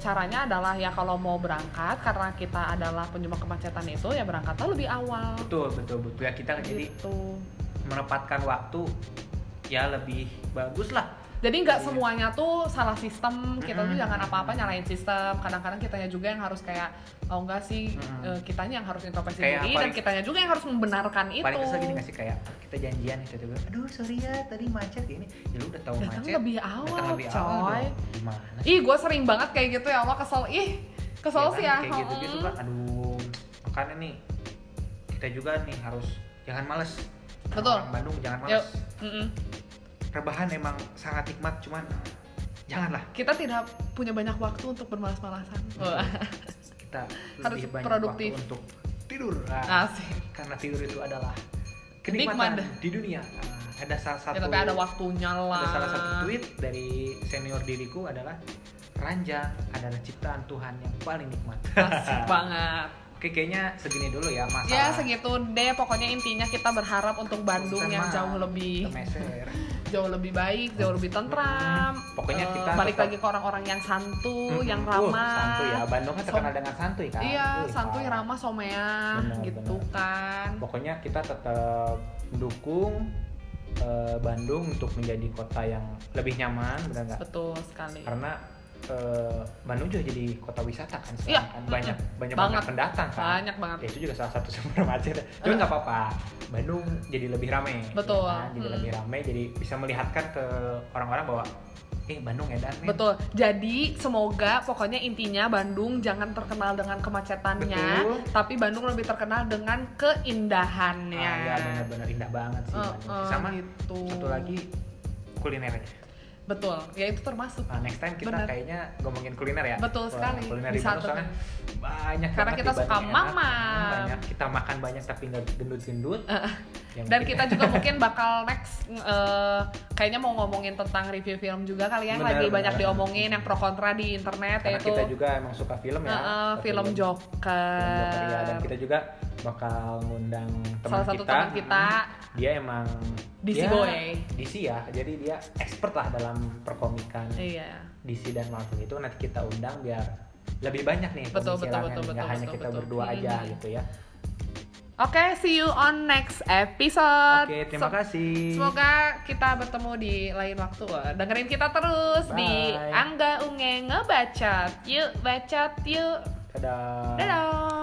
caranya adalah ya kalau mau berangkat karena kita adalah penyebab kemacetan itu ya berangkatnya lebih awal betul betul betul ya kita jadi gitu. menempatkan waktu ya lebih bagus lah Jadi nggak Iya. semuanya tuh salah sistem kita tuh Mm-mm. jangan apa-apa nyalain sistem kadang-kadang kitanya juga yang harus kayak oh enggak sih Mm-mm. eh, kitanya yang harus introspeksi Kayak diri dan paling- kitanya juga yang harus membenarkan itu. paling kesel gini nggak sih kayak kita janjian gitu tiba aduh sorry ya tadi macet ini ya lu udah tahu Datang macet lebih datang awal, lebih awal coy. dong. gimana sih Ih, gue sering banget kayak gitu ya Allah kesel. Ih, kesel kan? sih ya. kayak gitu gitu Mm. kan aduh makanya nih kita juga nih harus jangan males Betul. Orang Bandung jangan males Mm-mm. rebahan emang sangat nikmat cuman janganlah Kita tidak punya banyak waktu untuk bermalas-malasan. Iya, Wah, kita Harus lebih banyak produktif. Ah. waktu untuk tidur Nah, [LAUGHS] Asik. Ya, karena tidur itu adalah kenikmatan Nikmat. di dunia Nah, ada salah satu Ya, tapi ada waktunya lah. ada salah satu tweet dari senior diriku adalah ranjang adalah ciptaan Tuhan yang paling nikmat [LAUGHS] Asik banget. oke kayaknya segini dulu ya masalah Ya segitu deh, pokoknya intinya kita berharap untuk Bandung yang Sama jauh lebih kemeser. jauh lebih baik, jauh lebih tentram. Mm-mm. Pokoknya Eh, kita balik tetap- lagi ke orang-orang yang santu, Mm-mm. yang Uh, santuy ya ramah. Bandung kan terkenal dengan santuy kan Iya, Wih, santuy, parah. ramah, someah Benar, gitu benar. kan. pokoknya kita tetap mendukung eh, Bandung untuk menjadi kota yang lebih nyaman benar nggak Betul sekali. karena eh, Bandung juga jadi kota wisata kan Iya, sekarang kan banyak Banget. banyak banget pendatang kan Banyak banget. ya itu juga salah satu [LAUGHS] sumber macet cuma nggak apa-apa Bandung jadi lebih ramai ya kan? Betul. jadi Mm. lebih ramai jadi bisa melihatkan ke orang-orang bahwa eh Bandung edan nih Betul. Jadi semoga pokoknya intinya Bandung jangan terkenal dengan kemacetannya, Betul. tapi Bandung lebih terkenal dengan Ah, keindahannya. ya benar-benar indah banget sih Eh, Bandung eh, sama Iya, gitu. satu lagi kulinernya Betul. Ya itu termasuk. Nah, next time kita Benar. kayaknya ngomongin kuliner ya Betul Wah, sekali. kuliner di Bisa Bandung tuh soalnya kan. banyak Karena kita banget di Bandung suka yang enak. mamam. banyak kita makan banyak tapi nggak gendut-gendut Yang Eh, Dan mungkin- kita juga mungkin bakal next eh, kayaknya mau ngomongin tentang review film juga kali ya yang Benar, lagi benar. banyak diomongin yang pro kontra di internet karena yaitu kita juga emang suka film ya eh, eh, film film Joker, ya. Joker. dan kita juga bakal ngundang teman Salah satu kita Iya. teman kita Mm. dia emang DC dia boy. DC ya jadi dia expert lah dalam perkomikan Iya. DC dan Marvel itu nanti kita undang biar lebih banyak nih Betul, betul, pembicaraannya. betul, nggak betul, hanya betul, kita betul. berdua aja Mm. gitu ya Oke, see you on next oke episode. terima So- kasih Semoga kita bertemu di lain waktu. Wah, Dengerin kita terus di Bye. Angga Unge Ngebacot. Yuk, bacot yuk. dadah Dadah.